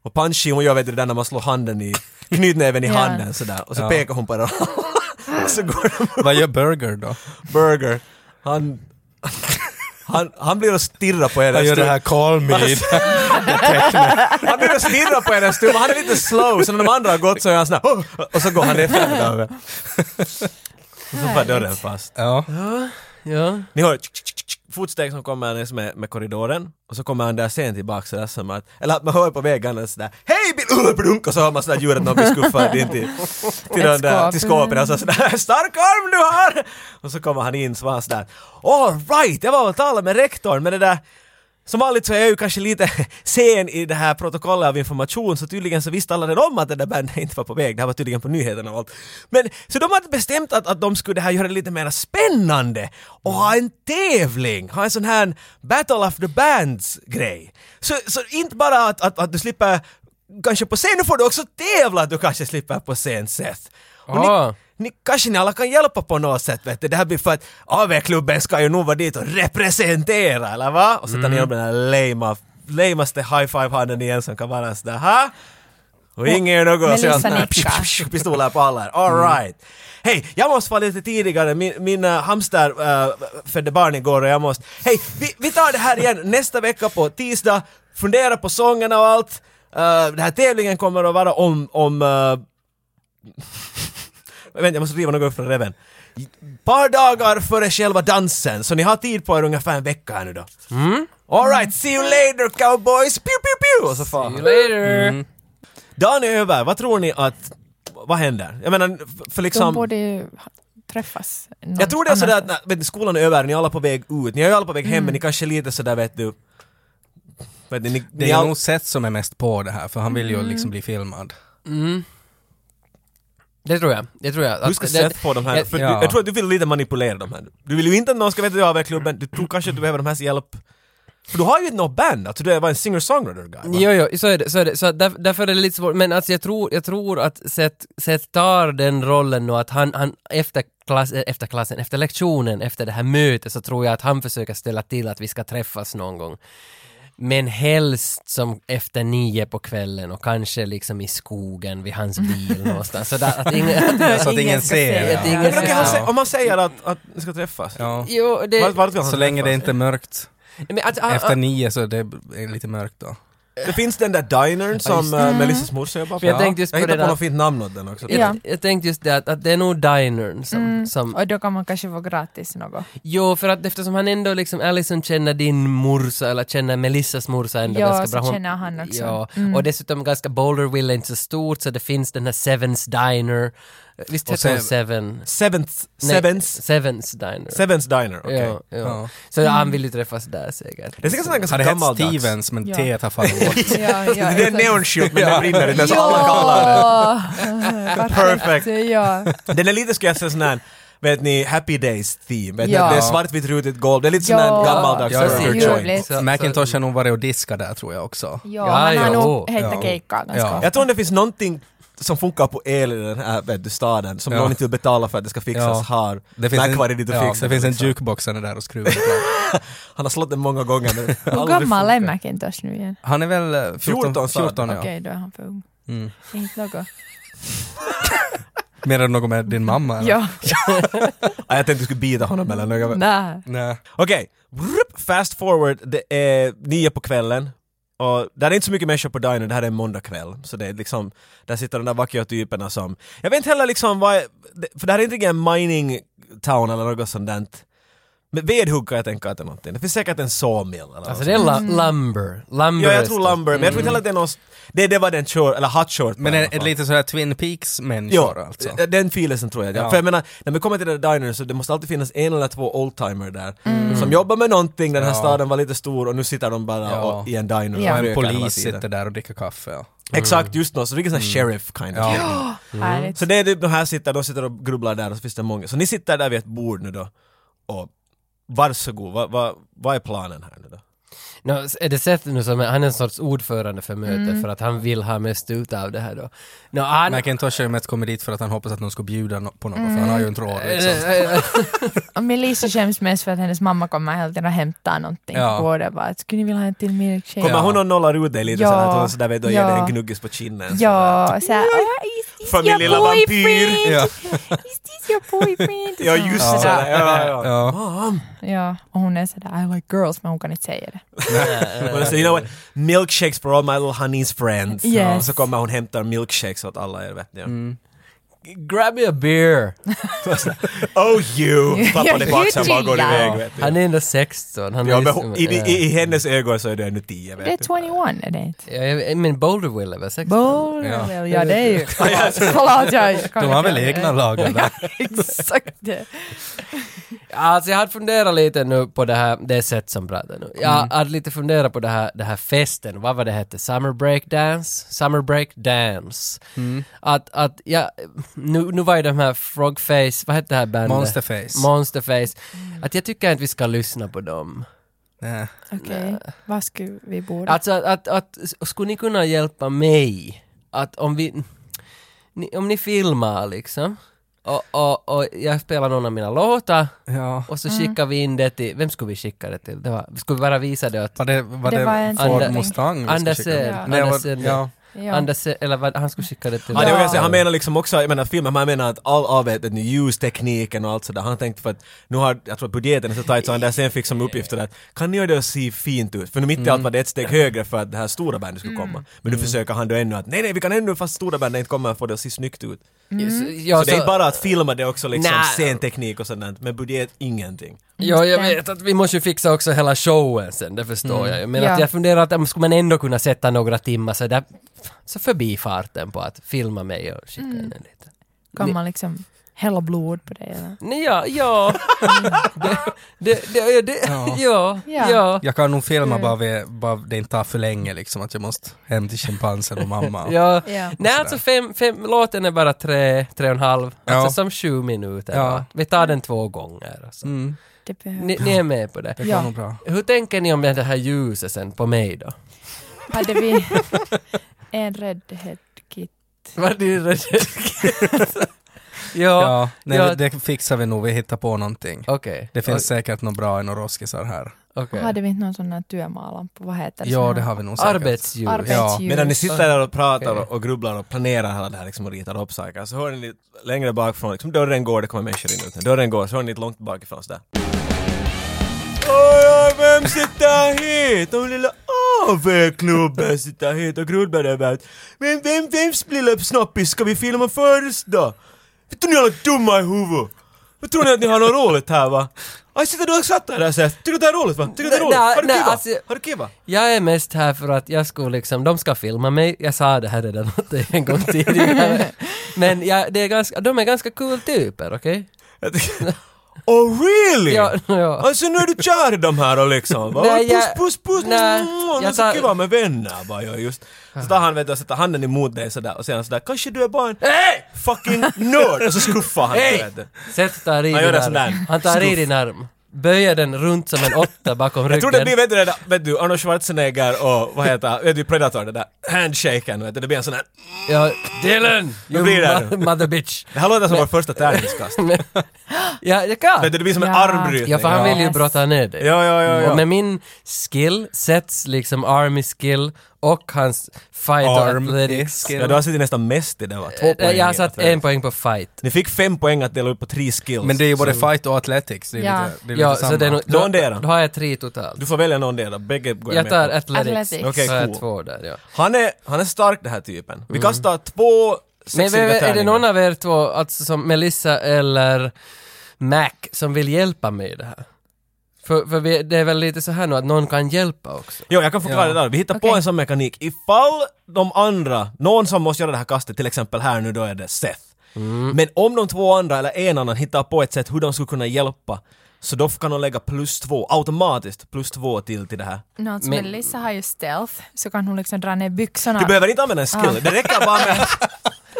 Och Panshi hon gör vet du det där när man slår handen i, knytnäven i
Ja.
handen sådär, och så
Ja.
pekar hon på det och så går de
Vad gör Burger då?
Burger, han, han, han blir och stirrar på er en
Han gör det
stund.
här Call Me.
Alltså- Han blir och stirrar på er en stund, men han är lite slow, så när de andra har gått så är han sån här, "Åh!" och så går han efter det där. Och så var dörren fast.
Ja.
Ja.
Ni hör tsk, tsk, tsk, tsk, fotsteg som kommer längs med, med korridoren och så kommer han där sen tillbaka sådär som att, eller att man hör på vägen och sådär Hej Bill! Uh, blunk, och så hör man sådär ljudet någon blir skuffad in till, till, den
Ett
där,
skåp.
till skåpet och så sådär Stark arm du har! Och så kommer han in så var han sådär All right, jag var och talade med rektorn men det där som vanligt så är jag ju kanske lite sen i det här protokollet av information så tydligen så visste alla redan om att det där bandet inte var på väg. Det här var tydligen på nyheterna och allt. Men så de hade bestämt att, att de skulle det här göra det lite mer spännande och ha en tävling, ha en sån här Battle of the Bands-grej. Så, så inte bara att, att, att du slipper kanske på scen, nu får du också tävla att du kanske slipper på scen Seth. Och ni-
Ah.
ni, kanske ni alla kan hjälpa på något sätt vet du. Det här blir för att AV-klubben ska ju nog vara dit och representera, eller va? Och sätta ner den här lame, lamaste high-five-handen igen som kan vara sådär ha? Och ingen är något
Melissa
sånt här,
nickar.
psh, psh, pistoler på alla. All right. Hej, jag måste vara lite tidigare. Min, min äh, hamster äh, födde barn igår och jag måste... Hej, vi, vi tar det här igen nästa vecka på tisdag. Fundera på sångerna och allt. Äh, den här tävlingen kommer att vara om... om äh, Vänta, jag måste riva något från reven. Par dagar före själva dansen, så ni har tid på er ungefär en vecka här nu då. Mm. Alright, see you later cowboys! Pew, pew, pew! Och så far han.
See you later!
Dagen är över, vad tror ni att... Vad händer? Jag menar, f- för
De
liksom...
borde ju ha- träffas. någon
Jag tror det är sådär att
annanstans.
när, vet ni, skolan är över, ni är alla på väg ut, ni är ju alla på väg hem, men ni
Mm.
kanske är lite sådär vet du... Vet ni, ni,
Det är
ni all-
nog Seth som är mest på det här, för han vill ju liksom bli filmad.
Mm. Det tror jag. Det tror jag.
Du ska
Att-
sätta på de här,
jag-
för du,
ja.
jag tror att du vill lite manipulera de här. Du vill ju inte att någon ska veta att du är av klubben, du tror kanske att du behöver de här hjälp. För du har ju något band, alltså du är bara en singer-songwriter guy. va?
Jo, jo, så är det. Så är det. Så där, därför är det lite svårt. Men alltså jag tror, jag tror att Seth, Seth tar den rollen och att han, han efter, klass, eh, efter klassen, efter lektionen, efter det här mötet så tror jag att han försöker ställa till att vi ska träffas någon gång. Men helst som efter nio på kvällen och kanske liksom i skogen vid hans bil någonstans. Så där, att ingen, att,
Så att
Ingen
ingen
ska
ser.
se.
ja.
att ingen
Men okej, han
ser.
sä- om man säger att, att ni ska träffas,
Ja.
Jo, det...
vart, vart vill han
Så länge det
träffas?
inte är mörkt.
Men alltså, han-
Efter nio så är det lite mörkt då.
Det finns den där dinern som
just
äh, Melissas morsa jobbar på.
För jag tänkte just
jag
på det
hittade på
där-
något fint namn åt den också.
jag,
Ja.
jag tänkte just det att, att det är nog dinern som... som
Och då kan man kanske få gratis något.
Jo, för att eftersom han ändå liksom, Allison känner din morsa, eller känner Melissas morsa ändå
Ja,
ganska
så
bra. Hon-
känner han också. Mm.
Ja, och dessutom ganska Boulderville är inte så stort, så det finns den här Sevens Diner. Visst
Och
heter hon
Sev-
Seven?
Seventh,
Nej,
Sevens,
Sevens Diner.
Sevens diner, okej.
Ja, ja.
Ja.
Så
Mm.
han vill ju träffas där säkert.
Det är säkert sån här ganska
Har det hette
gammaldags.
Stevens men
Ja.
T har fallit bort?
Ja,
Det är en neonskylt men den brinner inte, så alla kallar den.
Ja!
Perfect.
Ja.
Den är lite, skulle jag säga, sån här, vet ni, happy days theme. Vet
Ja.
ni, det är svartvitt rutigt golv, det är lite sån
Ja.
här gammaldags
Ja, ja.
burger
Ljuvligt.
joint.
Så- så-
Macintosh har nog varit och diskat där tror jag också.
Ja,
Ja,
han
ja,
har
åh,
nog hittat
ja.
keikkaa ganska
Ja.
ofta.
Jag tror det finns någonting som funkar på el i den här vet du, staden som
Ja.
någon inte vill betala för att det ska fixas
Ja.
har
Det finns,
Mac varit dit och
ja,
fixat
det finns en
liksom.
jukebox där och skruvar på.
Han har slått den många gånger nu.
Hur
Aldrig
gammal
funkar.
är Macintosh nu igen?
Han är väl eh, 14,
14
14,
sa du.
ja.
Okej, då är han för ung.
Mm.
Inte något.
Mer än något med din mamma? Eller?
Ja,
Ah, jag tänkte du skulle bita honom eller något.
nej.
Nej.
Okej, Vrup, fast forward, det är nio på kvällen. Och där är inte så mycket människor på diner, det här är en måndagkväll. Så det är liksom, där sitter de där vackra typerna som... Jag vet inte heller liksom vad... För det här är inte riktigt en mining town eller något sånt där. Men vedhugg kan jag tänka att det är någonting. Det finns säkert en sawmill eller något
Alltså det är
sånt.
la-
Mm.
lumber. Mm. Lumber
Ja, jag
är
tror
stort.
lumber, men jag tror inte heller att det är någon... Det, det var den short, eller hot short.
Men
i
är
alla
det
fall.
lite sådär Twin Peaks-människor alltså?
d- den filesen tror jag. Ja.
Ja.
För jag menar, när vi kommer till det där dinern så det måste alltid finnas en eller två oldtimer där. Som jobbar med någonting, den här
Ja.
staden var lite stor och nu sitter de bara
Ja.
och, i en diner och
Ja.
Och en
röker hela
polis
tiden. Mm.
sitter där och dricker kaffe. Ja.
Exakt, just något. Så det är en sån här sheriff kind of. thing.
Ja.
Mm. Härligt.
Så det är typ de här sitter, de sitter och grubblar där och så finns det många. Så ni sitter där vid ett bord nu då och varsågod, vad vad vad är planen här nu då?
Nå, är det sett nu som, han är en sorts ordförande för mötet
Mm.
för att han vill ha mest ut av det här då. Nå, han,
McIntosh har ju mest kommit dit för att han hoppas att någon ska bjuda no- på något, för han har ju inte
Eh, Mm.
råd liksom.
Och Melissa skäms mest för att hennes mamma kommer hela tiden och hämtar någonting
Ja.
på det. Bara, skulle ni vilja ha en till milkshake?
Kommer
Ja.
hon och nollar ut dig lite
Ja.
sådär, att hon sådär vet och ger
Ja.
dig en gnuggis på kinnen? sådär.
Ja, såhär, oh, is this
För min
your
lilla vampyr."
boyfriend?
Ja.
Is this your boyfriend?
Ja just
Ja.
det! Ja, ja, ja.
Ja.
Mom,
Ja, och hon är sådär, I like girls, men hon kan inte säga det.
Och så, you know what? Milkshakes for all my little honey's friends.
Yes.
Och så kommer hon hämtar milkshakes åt alla er. Vet ni.
Mm.
Liksom.
grab me a beer!
Oh you! Pappa är baksam bara går
Ja.
iväg. Vet
Han
du.
är ändå 16. Han är
Ja, men
liksom-
hon, i, i, I hennes ögon så är du ännu 10.
Det är
Vet du.
21, är det inte?
Ja, jag- men Boulderville är väl 16?
Bollwell, ja det är ju klart. jag kan
De har
inte
väl
göra det.
egna lagar där.
eh, Exakt det.
Alltså jag hade funderat lite nu på det här, det är Seth som pratar nu. Jag hade lite funderat på det här, det här festen, vad var det hette? Summer break dance? Summer break dance. Att, att, ja, nu, nu var ju de här Frogface, vad hette det här bandet?
Monsterface.
Monsterface. Att jag tycker inte vi ska lyssna på dem.
Nej.
Okej, vad skulle vi borde?
Alltså att, att, att, skulle ni kunna hjälpa mig? Att om vi, ni, om ni filmar liksom, och, och, och jag spelar någon av mina låtar,
Ja.
Och så
Mm.
skickar vi in det till, vem skulle vi skicka det till? Det var, skulle vi bara visa det åt
Var det, var
Det
det,
var en
Ander-
Ford Mustang vi ska
Anders,
skicka?
eh,
Nej,
Anders,
var-
eh,
ja.
Ja.
Anders, eller vad, han skulle skicka det till...
Ja, det var
Ja.
jag säga. Han menar liksom också, jag menar filmen, men han menar att all av det, den ljustekniken och allt sådär. Han har tänkt för att nu har, jag tror att budgeten är så tajt så han där sen fick som uppgift att kan ni göra det att se fint ut? För nu mitt i allt var det ett steg
Mm.
högre för att det här stora bandet skulle komma. Men nu försöker han då ännu att nej nej vi kan ännu fast stora bandet inte kommer få det att se snyggt ut.
Mm.
Mm.
Ja,
så, det är inte bara att filma det är också liksom
Nej.
scenteknik och sådant, men budget ingenting.
ja, jag vet att vi måste ju fixa också hela showen sen, det
Mm.
förstår jag ju. Men
Ja.
att jag funderar att om skulle man ändå kunna sätta några timmar så där, så förbi farten på att filma mig och
Mm.
skicka in en liten.
Kan man liksom hälla blod på det eller?
Nej, ja, ja. det, det, det, det, ja.
Ja.
ja,
Ja.
ja.
Jag kan nog filma bara, vid, bara det inte tar för länge liksom, att jag måste hem till schimpansen och mamma.
Ja.
Ja.
Nej, alltså fem, fem, låten är bara tre, tre och en halv, alltså
Ja.
som sju minuter.
Ja.
va? Vi tar den två gånger. Alltså.
Mm,
Det behöver.
Ni, ni är med på det.
det kan
Ja.
nog bra.
Hur tänker ni om det här ljuset sen på mig då?
Hade vi en redhead kit?
Var det ju rätt-
Ja,
Ja,
nej,
ja.
det fixar vi nog, vi hittar på någonting.
okej.
Det finns säkert något bra i några roskisar här.
Okej.
Hade vi inte någon sån här työmaalampu? Vad heter det?
Ja,
Sån
det
här
har vi nog säkert.
Arbetsljus.
Arbetsljus.
Medan ni sitter där och pratar och- och grubblar och planerar hela det här liksom och ritar upp saker, så hör ni lite längre bakifrån, liksom dörren går, det kommer människor in ut. Dörren går, så hör ni lite långt bakifrån sådär. Oj, oj, vem sitter hit? De lilla AV-klubben sitter hit och grubblar över att vem, vem, vems lilla snoppis ska vi filma först då? Vet du ni är alla dumma i huvudet? Vad tror ni att ni har något roligt här va? Aj, sitter du och satt där och säger, tycker du det här är roligt va? Tycker du det är roligt?
Nej,
Har du
nej,
kiva?
alltså-
Har du kiva?
Jag är mest här för att jag skulle liksom, de ska filma mig, jag sa det här redan åt dig en gång tidigare. Men jag, det är ganska, de är ganska cool typer, okej?
Jag tycker- Oh really?
Ja, ja.
Alltså nu är du kär i de här och liksom. Va?
Nej,
puss,
jag-
puss, puss.
nej,
Mm,
jag
jag tar...
tar-
Så kiva med vänner bara jag just. Så tar han vet du, och sätter handen emot dig sådär och sen sådär kanske du är bara en fucking nörd. Och så skuffar han dig,
Hej!
vet du.
Seth tar i
Han gör
din
en sån där
arm. Han tar i din arm. böjer den runt som en åtta bakom ryggen.
Jag tror det blir, vet du, det där- vet du Arnold Schwarzenegger och vad heter han? vet du Predator, det där handshaken, vet du, det blir en sån här...
Ja, Dylan! You
blir det
mo- mother bitch.
Det här låter som vår första tärningskast.
Ja, jag kan!
Vet du, det blir som en
Ja.
armbrytning.
Ja, för han vill ju
Yes.
brotta ner dig.
Ja, ja, ja, ja.
Och med min skill sätts liksom army skill och hans fight
Arm
och athletics.
is skill.
Ja, du har suttit nästan mest i det va? Två poäng.
Eh, Jag har
i
satt
affären.
en poäng på fight.
Ni fick fem poäng att dela upp på tre skills.
Men det är ju både
Så
fight och athletics. Det är
Ja.
lite, det är lite
Ja,
samma.
så det är nog, då,
Någondera.
då har jag tre totalt.
Du får välja någon del, då. bägge går jag
Jag
med
tar
på.
athletics.
Athletics.
Okej,
så har jag
cool.
två där, ja.
Han är, han är stark den här typen.
Mm.
Vi kastar två
Men
sexiga
vem- är det
tärningar.
någon av er två, alltså som Melissa eller Mac, som vill hjälpa mig i det här? För, för vi, det är väl lite så här nu att någon kan hjälpa också?
Jo, jag kan förklara det där. Vi hittar på
Okej.
en sån mekanik. Ifall de andra, någon som måste göra det här kastet, till exempel här nu då är det Seth. Men om de två andra eller en annan hittar på ett sätt hur de skulle kunna hjälpa, så då kan de lägga plus två, automatiskt plus två till till det här.
Nå, alltså,
Men-
Melissa har ju stealth, så kan hon liksom dra ner byxorna.
Du behöver inte använda en skill, det räcker bara med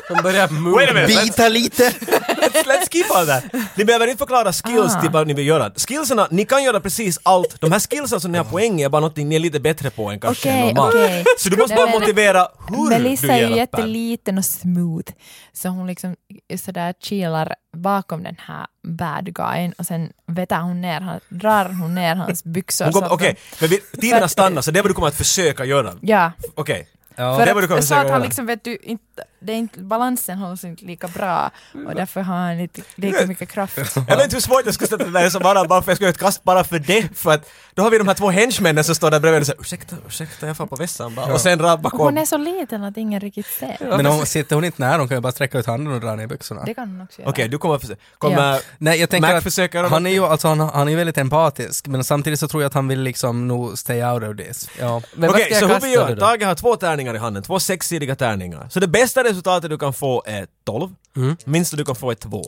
De börjar
Wait a minute.
Bita lite!
Let's keep all that! Ni behöver inte förklara skills
Ah.
till vad ni vill göra. Skillsarna, ni kan göra precis allt. De här skillsen som ni har poäng i är bara någonting ni är lite bättre på än kanske
Okej,
normalt.
okej.
Så du måste
Nej,
bara
men-
motivera hur
Melissa
du
är ju
hjälper.
jätteliten och smooth, så hon liksom sådär chillar bakom den här bad guyen och sen vetar hon ner, han, drar hon ner hans byxor.
Hon
så
kommer-
att de-
Okej, men vi- tiderna stannar så det är vad du kommer att försöka göra.
Ja,
Okej.
Ja.
det var
för
du kommer
att, så att
säga,
han
ja.
liksom vet du inte, det är inte, balansen hålls inte lika bra och därför har han inte lika mycket kraft.
Jag vet inte hur svårt jag skulle sätta det där som bara, bara för jag ska göra ett kast bara för det. För att då har vi de här två henchmännen som står där bredvid och säger ursäkta, ursäkta, jag får på vässan bara. Och sen rabba
Hon
kom.
är så liten att ingen riktigt ser.
Men hon, sitter hon inte nära, hon kan ju bara sträcka ut handen och dra ner byxorna.
Det kan hon också göra.
Okej, du kommer att försöka. Kommer...
Nej, jag
Mac
tänker
försöker göra
att han är ju alltså, han, han är ju väldigt empatisk, men samtidigt så tror jag att han vill liksom nog stay out of this. Ja.
Men vad
Okej,
ska jag
så hur
kasta
vi
nu
gör?
då?
Tage har två tärningar i handen, två sexsidiga tärningar. Så det bästa resultatet du kan få är 12.
Mm.
Minsta du kan få är 2.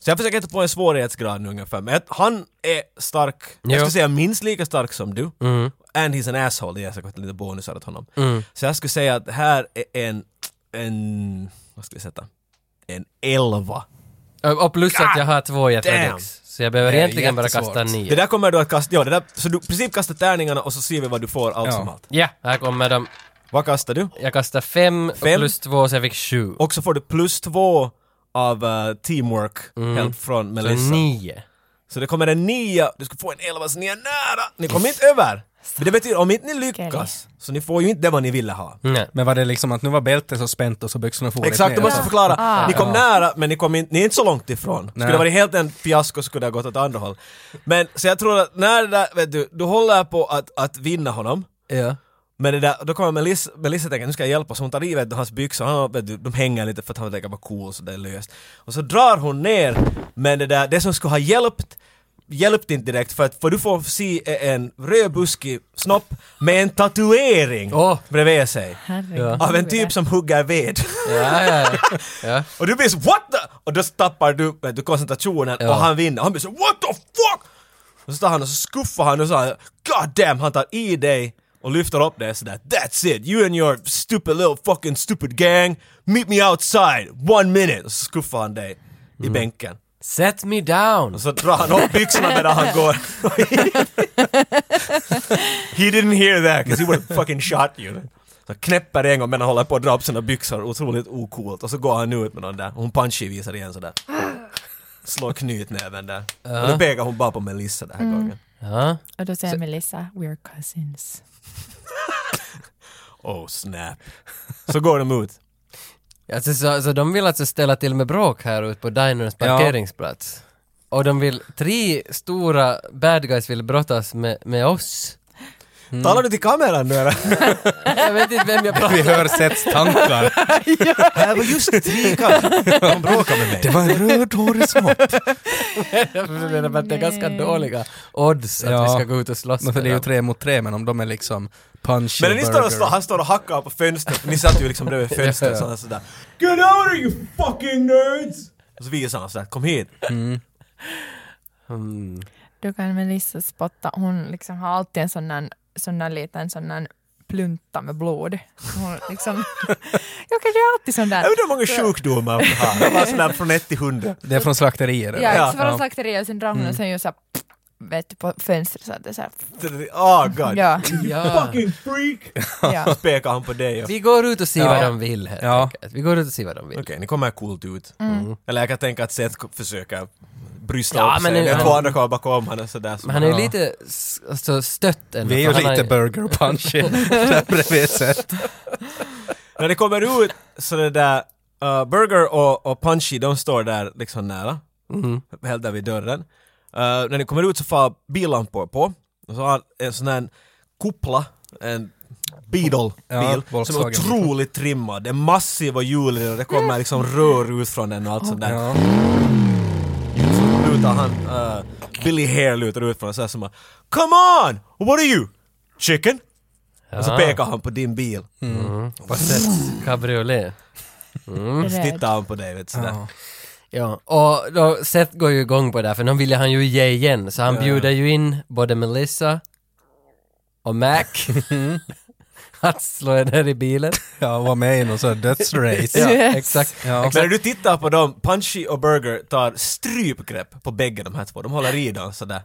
Så jag försöker hitta på en svårighetsgrad nu ungefär. Men att han är stark, jag
Jo.
skulle säga minst lika stark som du.
Mm.
And he's an asshole, det är säkert lite bonusar åt honom. Så jag skulle säga att det här är en, en, vad ska vi sätta? En 11.
Och plus att jag har två i
damn.
athletics. Så jag behöver
Det är
egentligen bara
jättesvårt.
kasta
Det
nio.
där kommer du att kasta, ja det där, så du i princip kastar tärningarna och så ser vi vad du får allt
Ja.
som allt.
Ja, här kommer de.
Vad kastar du?
Jag kastar fem, och
Fem.
plus två så jag fick sju.
Och så får du plus två av eh, teamwork
Mm.
help från
Så
Melissa. Så,
nio.
det kommer en nia, du ska få en elva så ni är nära! Ni kommer inte över! Men det betyder om inte ni lyckas, så ni får ju inte det vad ni ville ha.
Nej.
Men var det liksom att nu var bältet så spänt och så byxorna for lite
Exakt, du
ner?
måste förklara.
Ah.
Ni kom nära men ni, kom in, ni är inte så långt ifrån. Skulle
Nej.
det varit helt en fiasko så skulle det ha gått åt andra håll. Men så jag tror att när det där, vet du, du håller på att, att vinna honom.
Ja.
Men det där, då kommer Melissa, Melissa tänka nu ska jag hjälpa, så hon tar i vet, du, hans byxor, han, vet, du, de hänger lite för att han tänker vara cool så det är löst. Och så drar hon ner, men det där, det som skulle ha hjälpt hjälpte inte direkt för att för du får se e- en rödbuskig snopp med en tatuering
Åh.
bredvid sig.
Herregud.
Av en typ som hugger ved.
Ja, ja, ja. ja.
Och du blir så what the... Och då tappar du, vet du koncentrationen
Ja.
och han vinner. Han blir så what the fuck! Och så tar han och så skuffar han och så här, God damn, han tar i dig och lyfter upp dig sådär That's it, you and your stupid little fucking stupid gang Meet me outside, one minute! Och så skuffar han dig i bänken.
Set me down!
Och så drar han upp byxorna medan han går. he didn't hear that, because he would have fucking shot you. Så knäpper en gång medan han håller på att dra upp sina byxor, otroligt ocoolt. Och så går han ut med den där, hon punchy visar igen sådär. Slår knytnäven där. Och då pekar hon bara på Melissa den här gången.
Ja.
Och då säger Melissa, we're cousins.
Oh snap. Så går de ut.
Alltså, så, så de vill alltså ställa till med bråk här ute på Dinerns
Ja.
parkeringsplats. Och de vill, tre stora bad guys vill brottas med, med oss.
Talar du till kameran nu eller?
Jag vet inte vem jag pratar
Vi hör Seths tankar.
Det var just tre kanske. De bråkar med mig.
Det var en röd horisont.
med, för att det är
nej.
ganska dåliga odds att
Ja.
vi ska gå ut och slåss
Men för Alltså, det är ju
med dem.
tre mot tre, men om de är liksom punch
Men
och
ni står och
burger.
står, han står och hackar på fönstret, ni satt ju liksom bredvid fönstret så han sådär Get out of you fucking nerds! Och så visar han sådär, kom hit!
Mm.
Då kan Melissa spotta, hon liksom har alltid en sån där, sån där liten sån där plunta med blod. Hon liksom, jag kan göra alltid sån där.
Jag undrar hur många sjukdomar han har, det var sådär från 1 till 100
Det är från slakterier. eller?
Ja,
Ja, Mm.
så var det slakteriet och sen drar hon och sen gör så här, pff, vet du, på fönstret så att det är så här,
Oh god.
ja,
Ja.
Fucking freak!
ja.
Pekar han på dig och... Okej,
Vi går ut och ser
Ja.
vad de vill helt
Ja.
enkelt. Vi går ut och ser vad de vill.
ni kommer coolt ut. Eller jag kan tänka att Seth försöker brysla
Mm. Ja,
upp
men
sig.
nu-
Men
han-
två andra kommer bakom honom sådär. Så
Men han är ju
Ja.
lite s- alltså, stött ändå.
Vi är ju
för han har
lite burger punch i- där bredvid Seth.
När det kommer ut så det där uh, Burger och, och Punchy de står där liksom nära.
Mm.
Mhm.
Helt där vid dörren. Uh, när ni kommer ut så far billampor på. Och så har han en sån här kupla, en Beetle-bil,
Ja,
som är
Volkswagen.
otroligt trimmad. Det är massiva hjul i den och det kommer liksom rör ut från den och allt sånt där.
Ja.
Så lutar han, eh, Billy Hare lutar ut från och säger som bara, Come on! What are you? Chicken? Och så
Ja.
pekar han på din bil.
På sätt cabriolet.
Så
rädd.
tittar han på dig vet du, sådär.
Ja.
Ja, och då Seth går ju igång på det här för nu ville han ju ge igen så han bjuder ju in både Melissa och Mac
Mm.
att slå ner i bilen.
ja, och var med i någon sån här dödsrace.
Ja,
Yes.
exakt.
Ja.
Men när du tittar på dem, Punchy och Burger tar strypgrepp på bägge de här två. De håller i dem sådär.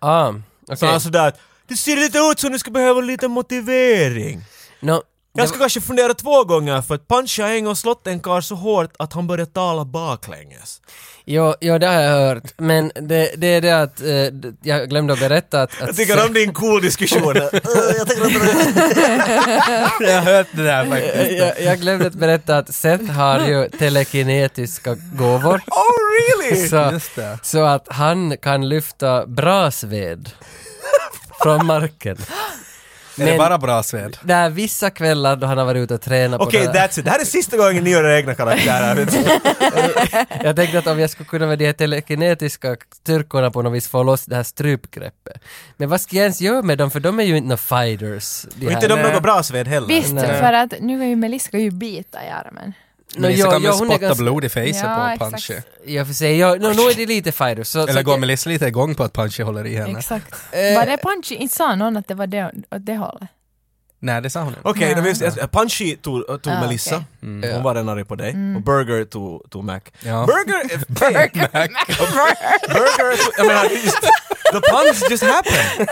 Ah, okej.
Så alltså- han sådär att det ser lite ut som du skulle behöva lite motivering.
Nå,
Jag ska kanske fundera två gånger för att Punchy har en gång slått en karl så hårt att han började tala baklänges.
Jo, jo, det har jag hört, men det, det är det att eh, d- jag glömde att berätta att... att
Jag tycker om din cool diskussion. Eh, jag tänker att det
Jag har hört det där faktiskt.
jag, jag glömde att berätta att Seth har ju telekinetiska gåvor.
Oh really?
Så,
Just det.
så att han kan lyfta brasved från marken.
Är
Men-
det bara bra sved?
Det är vissa kvällar då han har varit ute och tränat
Okej,
på det här.
that's it. Det här är sista gången ni gör era egna karaktärer. vet du.
Jag tänkte att om jag skulle kunna med de här telekinetiska styrkorna på något vis få loss det här strypgreppet. Men vad ska jag ens göra med dem för de är ju inte några fighters. De
Och inte de något bra sved heller.
Visst,
Nej.
för att nu är ju Melissa ska ju bita i armen.
No,
Melissa kan väl
hon är
spotta
ganska,
blod i facet
Ja,
på
exakt.
Punchy.
jag får säga, jag, no, nu är de lite fighters. Så,
Eller
så,
går Melissa lite igång på att Punchy håller i henne?
Exakt.
Eh.
Var det punchy? Inte sa någon att det var det, åt det hållet?
Nej, det sa hon inte. Mm.
Okej,
Nej.
okay, Punchy tog, tog
Ah,
Melissa.
okej. Mm.
Ja.
Hon var den arg på dig. Och Burger tog, tog Mac.
Ja.
Burger... Burger! burger tog, jag menar, just, the puns just happened.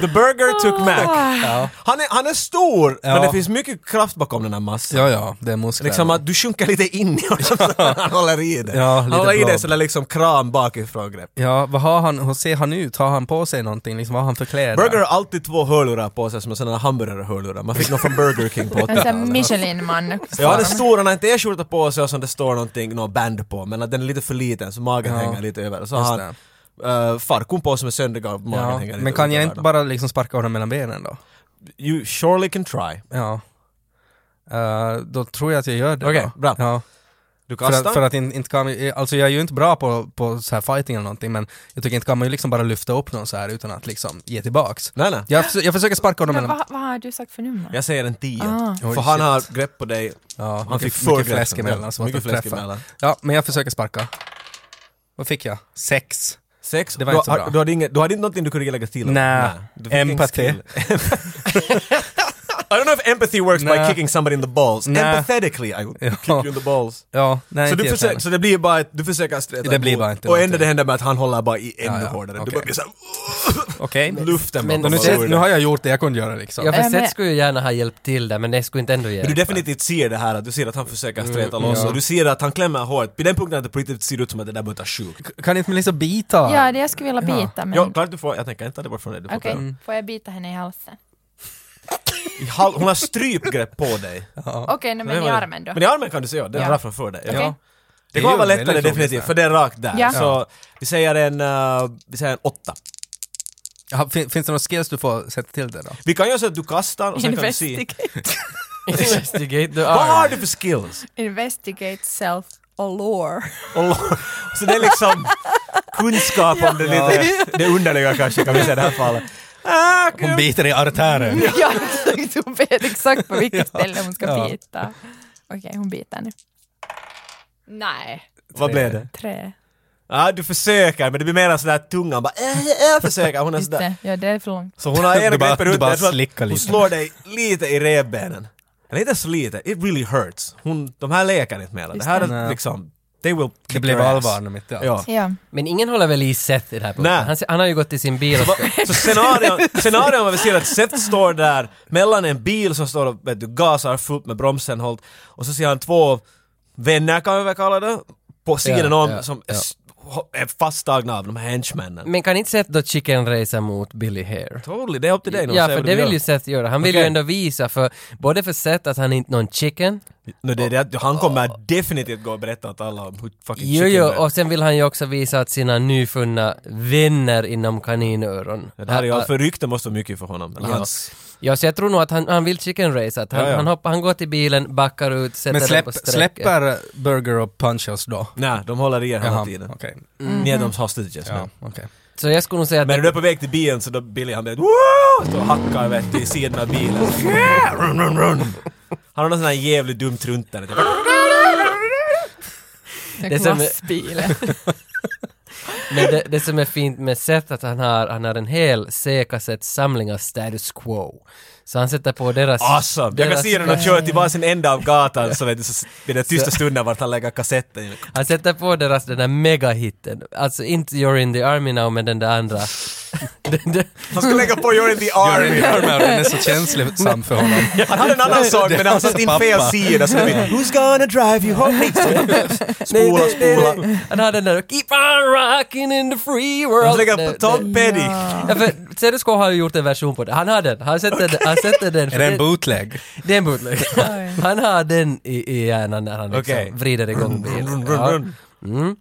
The Burger took Mac.
Ja.
Han är, han är stor,
Ah. Ja.
men det finns mycket kraft bakom den här massan.
ja, ja, det är muskler.
Liksom att du sjunker lite in i honom, han håller i dig.
Ja,
han
lite
håller i dig
blob.
sådär liksom kram bakifrån-grepp.
Ja, vad har han, hur ser han ut? Har han på sig någonting? Liksom, vad har han för kläder?
Burger har alltid två hörlurar på sig som är sådana hamburgerhörlurar. Man fick någon från Burger King på
En sån här
80-talet.
Michelin-man.
Ja, den är stor, han har inte t-skjorta på sig och sen det står någonting, någon band på, men att den är lite för liten så magen
Ja.
hänger lite över. Och Så
Just
har
det.
han uh, farkon på som är söndergård, magen
Ja.
hänger lite
Men kan
över
jag
där
inte
då.
bara liksom sparka honom mellan benen då?
You surely can try.
Ja. Eh, då tror jag att jag gör det
Okej,
då.
bra.
Ja.
Du
För
kastar.
att, för att in, inte kan, alltså jag är ju inte bra på, på så här fighting eller någonting men jag tycker inte kan man ju liksom bara lyfta upp någon så här utan att liksom ge tillbaks.
Nej, nej.
Jag, förs- jag försöker sparka honom
Men
mellan...
vad, vad har du sagt för nummer?
Jag säger en tia.
Ah.
För
Oj,
han
shit.
har grepp på dig.
Ja,
Han
mycket,
fick för
mycket
grepp.
fläsk emellan så att
Mycket
han
fläsk
träffar.
emellan.
Ja, men jag försöker sparka. Vad fick jag? Sex.
Sex.
Det var
du,
inte så
har-
bra.
Du hade, inget, du hade inte någonting du kunde lägga till?
Nej.
Du fick ingen
Empati.
skill. I don't know if empathy works by
Nej.
kicking somebody in the balls.
Nej.
Empathetically I would kick you in the balls.
Ja, nej,
Så,
inte
du
jag
försöker,
tränar.
så det blir bara att du försöker streta
Det blir
emot.
bara inte
Och ändå
någonting.
det händer med att han håller bara i ännu
Ja, ja,
hårdare. Du
okej.
bara blir såhär...
Okej.
Luften
Men
bara
nu
Nu,
kommer
känns-
ur
nu
dig.
har jag gjort det jag kunde göra liksom.
Ja, för
Äh, men-
Seth skulle ju gärna ha hjälpt till där men det skulle inte ändå hjälpa.
Men du definitivt ser det här att du ser att han försöker streta loss
Mm, ja.
och du ser att han klämmer hårt. Vid den punkten att det på riktigt ser ut som att det där börjar ta sjuk.
Kan inte Melissa bita?
Ja, det jag skulle vilja
Ja.
bita men...
Ja, klart Mm. du får, jag tänker inte ta det bort från dig. Du får
Mm. Okej,
ta det.
får jag bita henne i halsen?
I hal- Hon har strypgrepp på dig.
Okej, nej,
Det
men i
var det.
armen då.
Men i armen kan du se, ja, den
Ja.
är rakt framför dig. Ja.
Okej.
Det
är
kommer vara
ju väldigt
lättare
roligt
definitivt,
där.
för det är rakt där.
Ja.
Så vi säger en, eh, vi säger en åtta.
Ja, fin, finns det några skills du får sätta till det då?
Vi kan göra så att du kastar och sen kan du se.
Investigate,
Investigate the
Vad har
arm.
du för skills?
investigate self allure.
Och- Så det är liksom kunskap om det lite, det underliga kanske kan vi säga i det här fallet. Ah,
Hon biter i artären.
ja, exakt. Hon vet exakt på vilket ställe hon ska
Ja.
bita. Okej, hon biter nu. Nej.
Vad blev det?
Tre.
Ja, du försöker men det blir mer en sån där tungan bara äh, äh, försöker. Hon är
Just
sådär.
det, ja det är för långt.
Så hon har ena
Du bara-
greppen
du
ut
bara
jag tror att
slickar
Hon
lite.
slår dig lite i revbenen. Eller inte så lite, it really hurts. Hon, de här leker inte med det. Det
Just
här
det.
är
Nej.
liksom They will
Det
kick
blev
your ass.
allvar nu mitt i allt.
Ja.
Ja.
Men ingen håller väl i Seth i det här punkten?
Nej.
Han, han har ju gått till sin bil och... ska-
Så scenarion, scenarion var vi ser att Seth står där mellan en bil som står och vet du, gasar fullt med bromsen hållt och så ser han två vänner kan vi väl kalla det, på sidan
Ja,
om
ja,
som
ja.
s- ho- är fasttagna av de här henchmännen.
Men kan inte Seth då chicken racea mot Billy Hare?
Totally, det är upp till dig nu.
Ja,
säg
för
vad
det
du
vill
gör.
ju Seth göra. Han vill ju
Okej.
ändå visa, för, både för Seth att han inte är någon chicken,
No, det, är det, att han kommer definitivt gå och berätta åt alla om hur fucking
jo,
chicken
jo,
det är.
och sen vill han ju också visa att sina nyfunna vänner inom kaninöron.
Det här är ju
Ja,
allt för rykte måste vara mycket för honom. Eller
Ja.
hans
Ja, så jag tror nog att han, han vill chicken race, att han,
Ja, ja.
Han, hoppar, han går till bilen, backar ut, sätter
Men
den på
släpp,
strecket.
släpper Burger och Punchos då?
Nej, de håller i er hela
Jaha,
tiden.
okej.
Ni är de hostages
Ja,
nu.
okej.
Så jag skulle nog säga att...
Men när du är på väg till bilen så då Billy han vet Woo! Står och hackar vet du, i sidan av bilen. Yeah! Run, run, run. Han har någon sån här jävligt dum trunta. vet du.
Det är
Det
som-
Glassbilen.
Men det, det som är fint med Seth att han har, han har en hel Sekassets samling av status quo. Så han sätter på deras...
Awesome! Jag kan
deras-
se den och köra till varsin ända av gatan så vet du, så blir det tysta stunder vart han lägger kassetten.
Han sätter på deras den där megahitten. Alltså inte You're in the Army now, men den där andra. den, där-
Han ska lägga på You're in the army.
Armor, den är så känslig sam för honom.
Han hade en annan sak men han satt in fel
Pappa.
sida så det blir Who's gonna drive you home? Spola,
Nej, nej, nej,
spola.
nej. Han har den där Keep on rocking in the free
Han
world.
lägger
Nej,
på Tom Petty.
Ja.
Ja, för CDSK har ju gjort en version på det. Han har den. Han sätter den. Han sätter den.
Är det en bootleg?
Det är en bootleg.
Oj.
Han har den i, i hjärnan när han liksom
Okej.
vrider igång
Run,
bilen.
run, run,
Ja.
run.
Mm.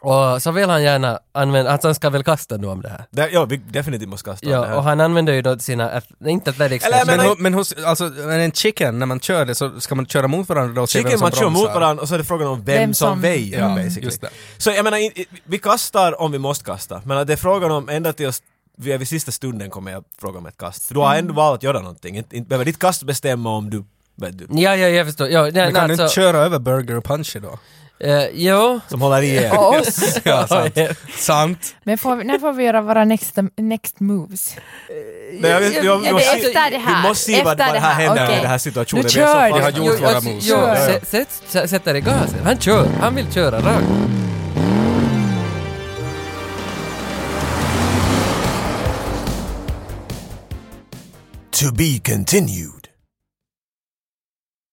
Och så vill han gärna använda, alltså han ska väl kasta nu om det här.
Där- Ja, vi definitivt måste kasta av det
Ja,
här.
och han använder ju då sina, ath- inte athletics,
Eller jag
men
Men,
menar-
ho- men hos, alltså, men en chicken, när man kör det så ska man köra mot varandra och se vem
Chicken
som
man kör mot
bromsar.
varandra och så är det frågan om vem,
Vem
som,
som-
väjer
Ja,
basically.
just det.
Så jag menar, i- i- vi kastar om vi måste kasta. Men att det är frågan om ända tills vi är vid sista stunden kommer jag fråga om ett kast. För du har ändå
Mm.
valt att göra någonting. Inte, inte behöver ditt kast bestämma om du... Vet du
Ja, ja, jag förstår. Ja, nej,
Men
nej,
kan du inte
alltså,
köra över Burger och Punchy då?
eh, jo.
som håller i er.
Och oss.
Ja, sant. sant.
Men får vi, när får vi göra våra next, next moves?
Nej, jag vet- jag- jag
Ja,
måste-
det är efter det här.
Vi måste se
Efter
vad, vad här
det här,
händer
okej.
i den här situationen.
Nu
Vi är så
kör
fast-
Vi har
det.
gjort våra
alltså,
moves.
Jo,
Ja,
ja.
sä- sätt- sä- sätter i gasen. Han kör. Han vill köra rakt.
To be continued.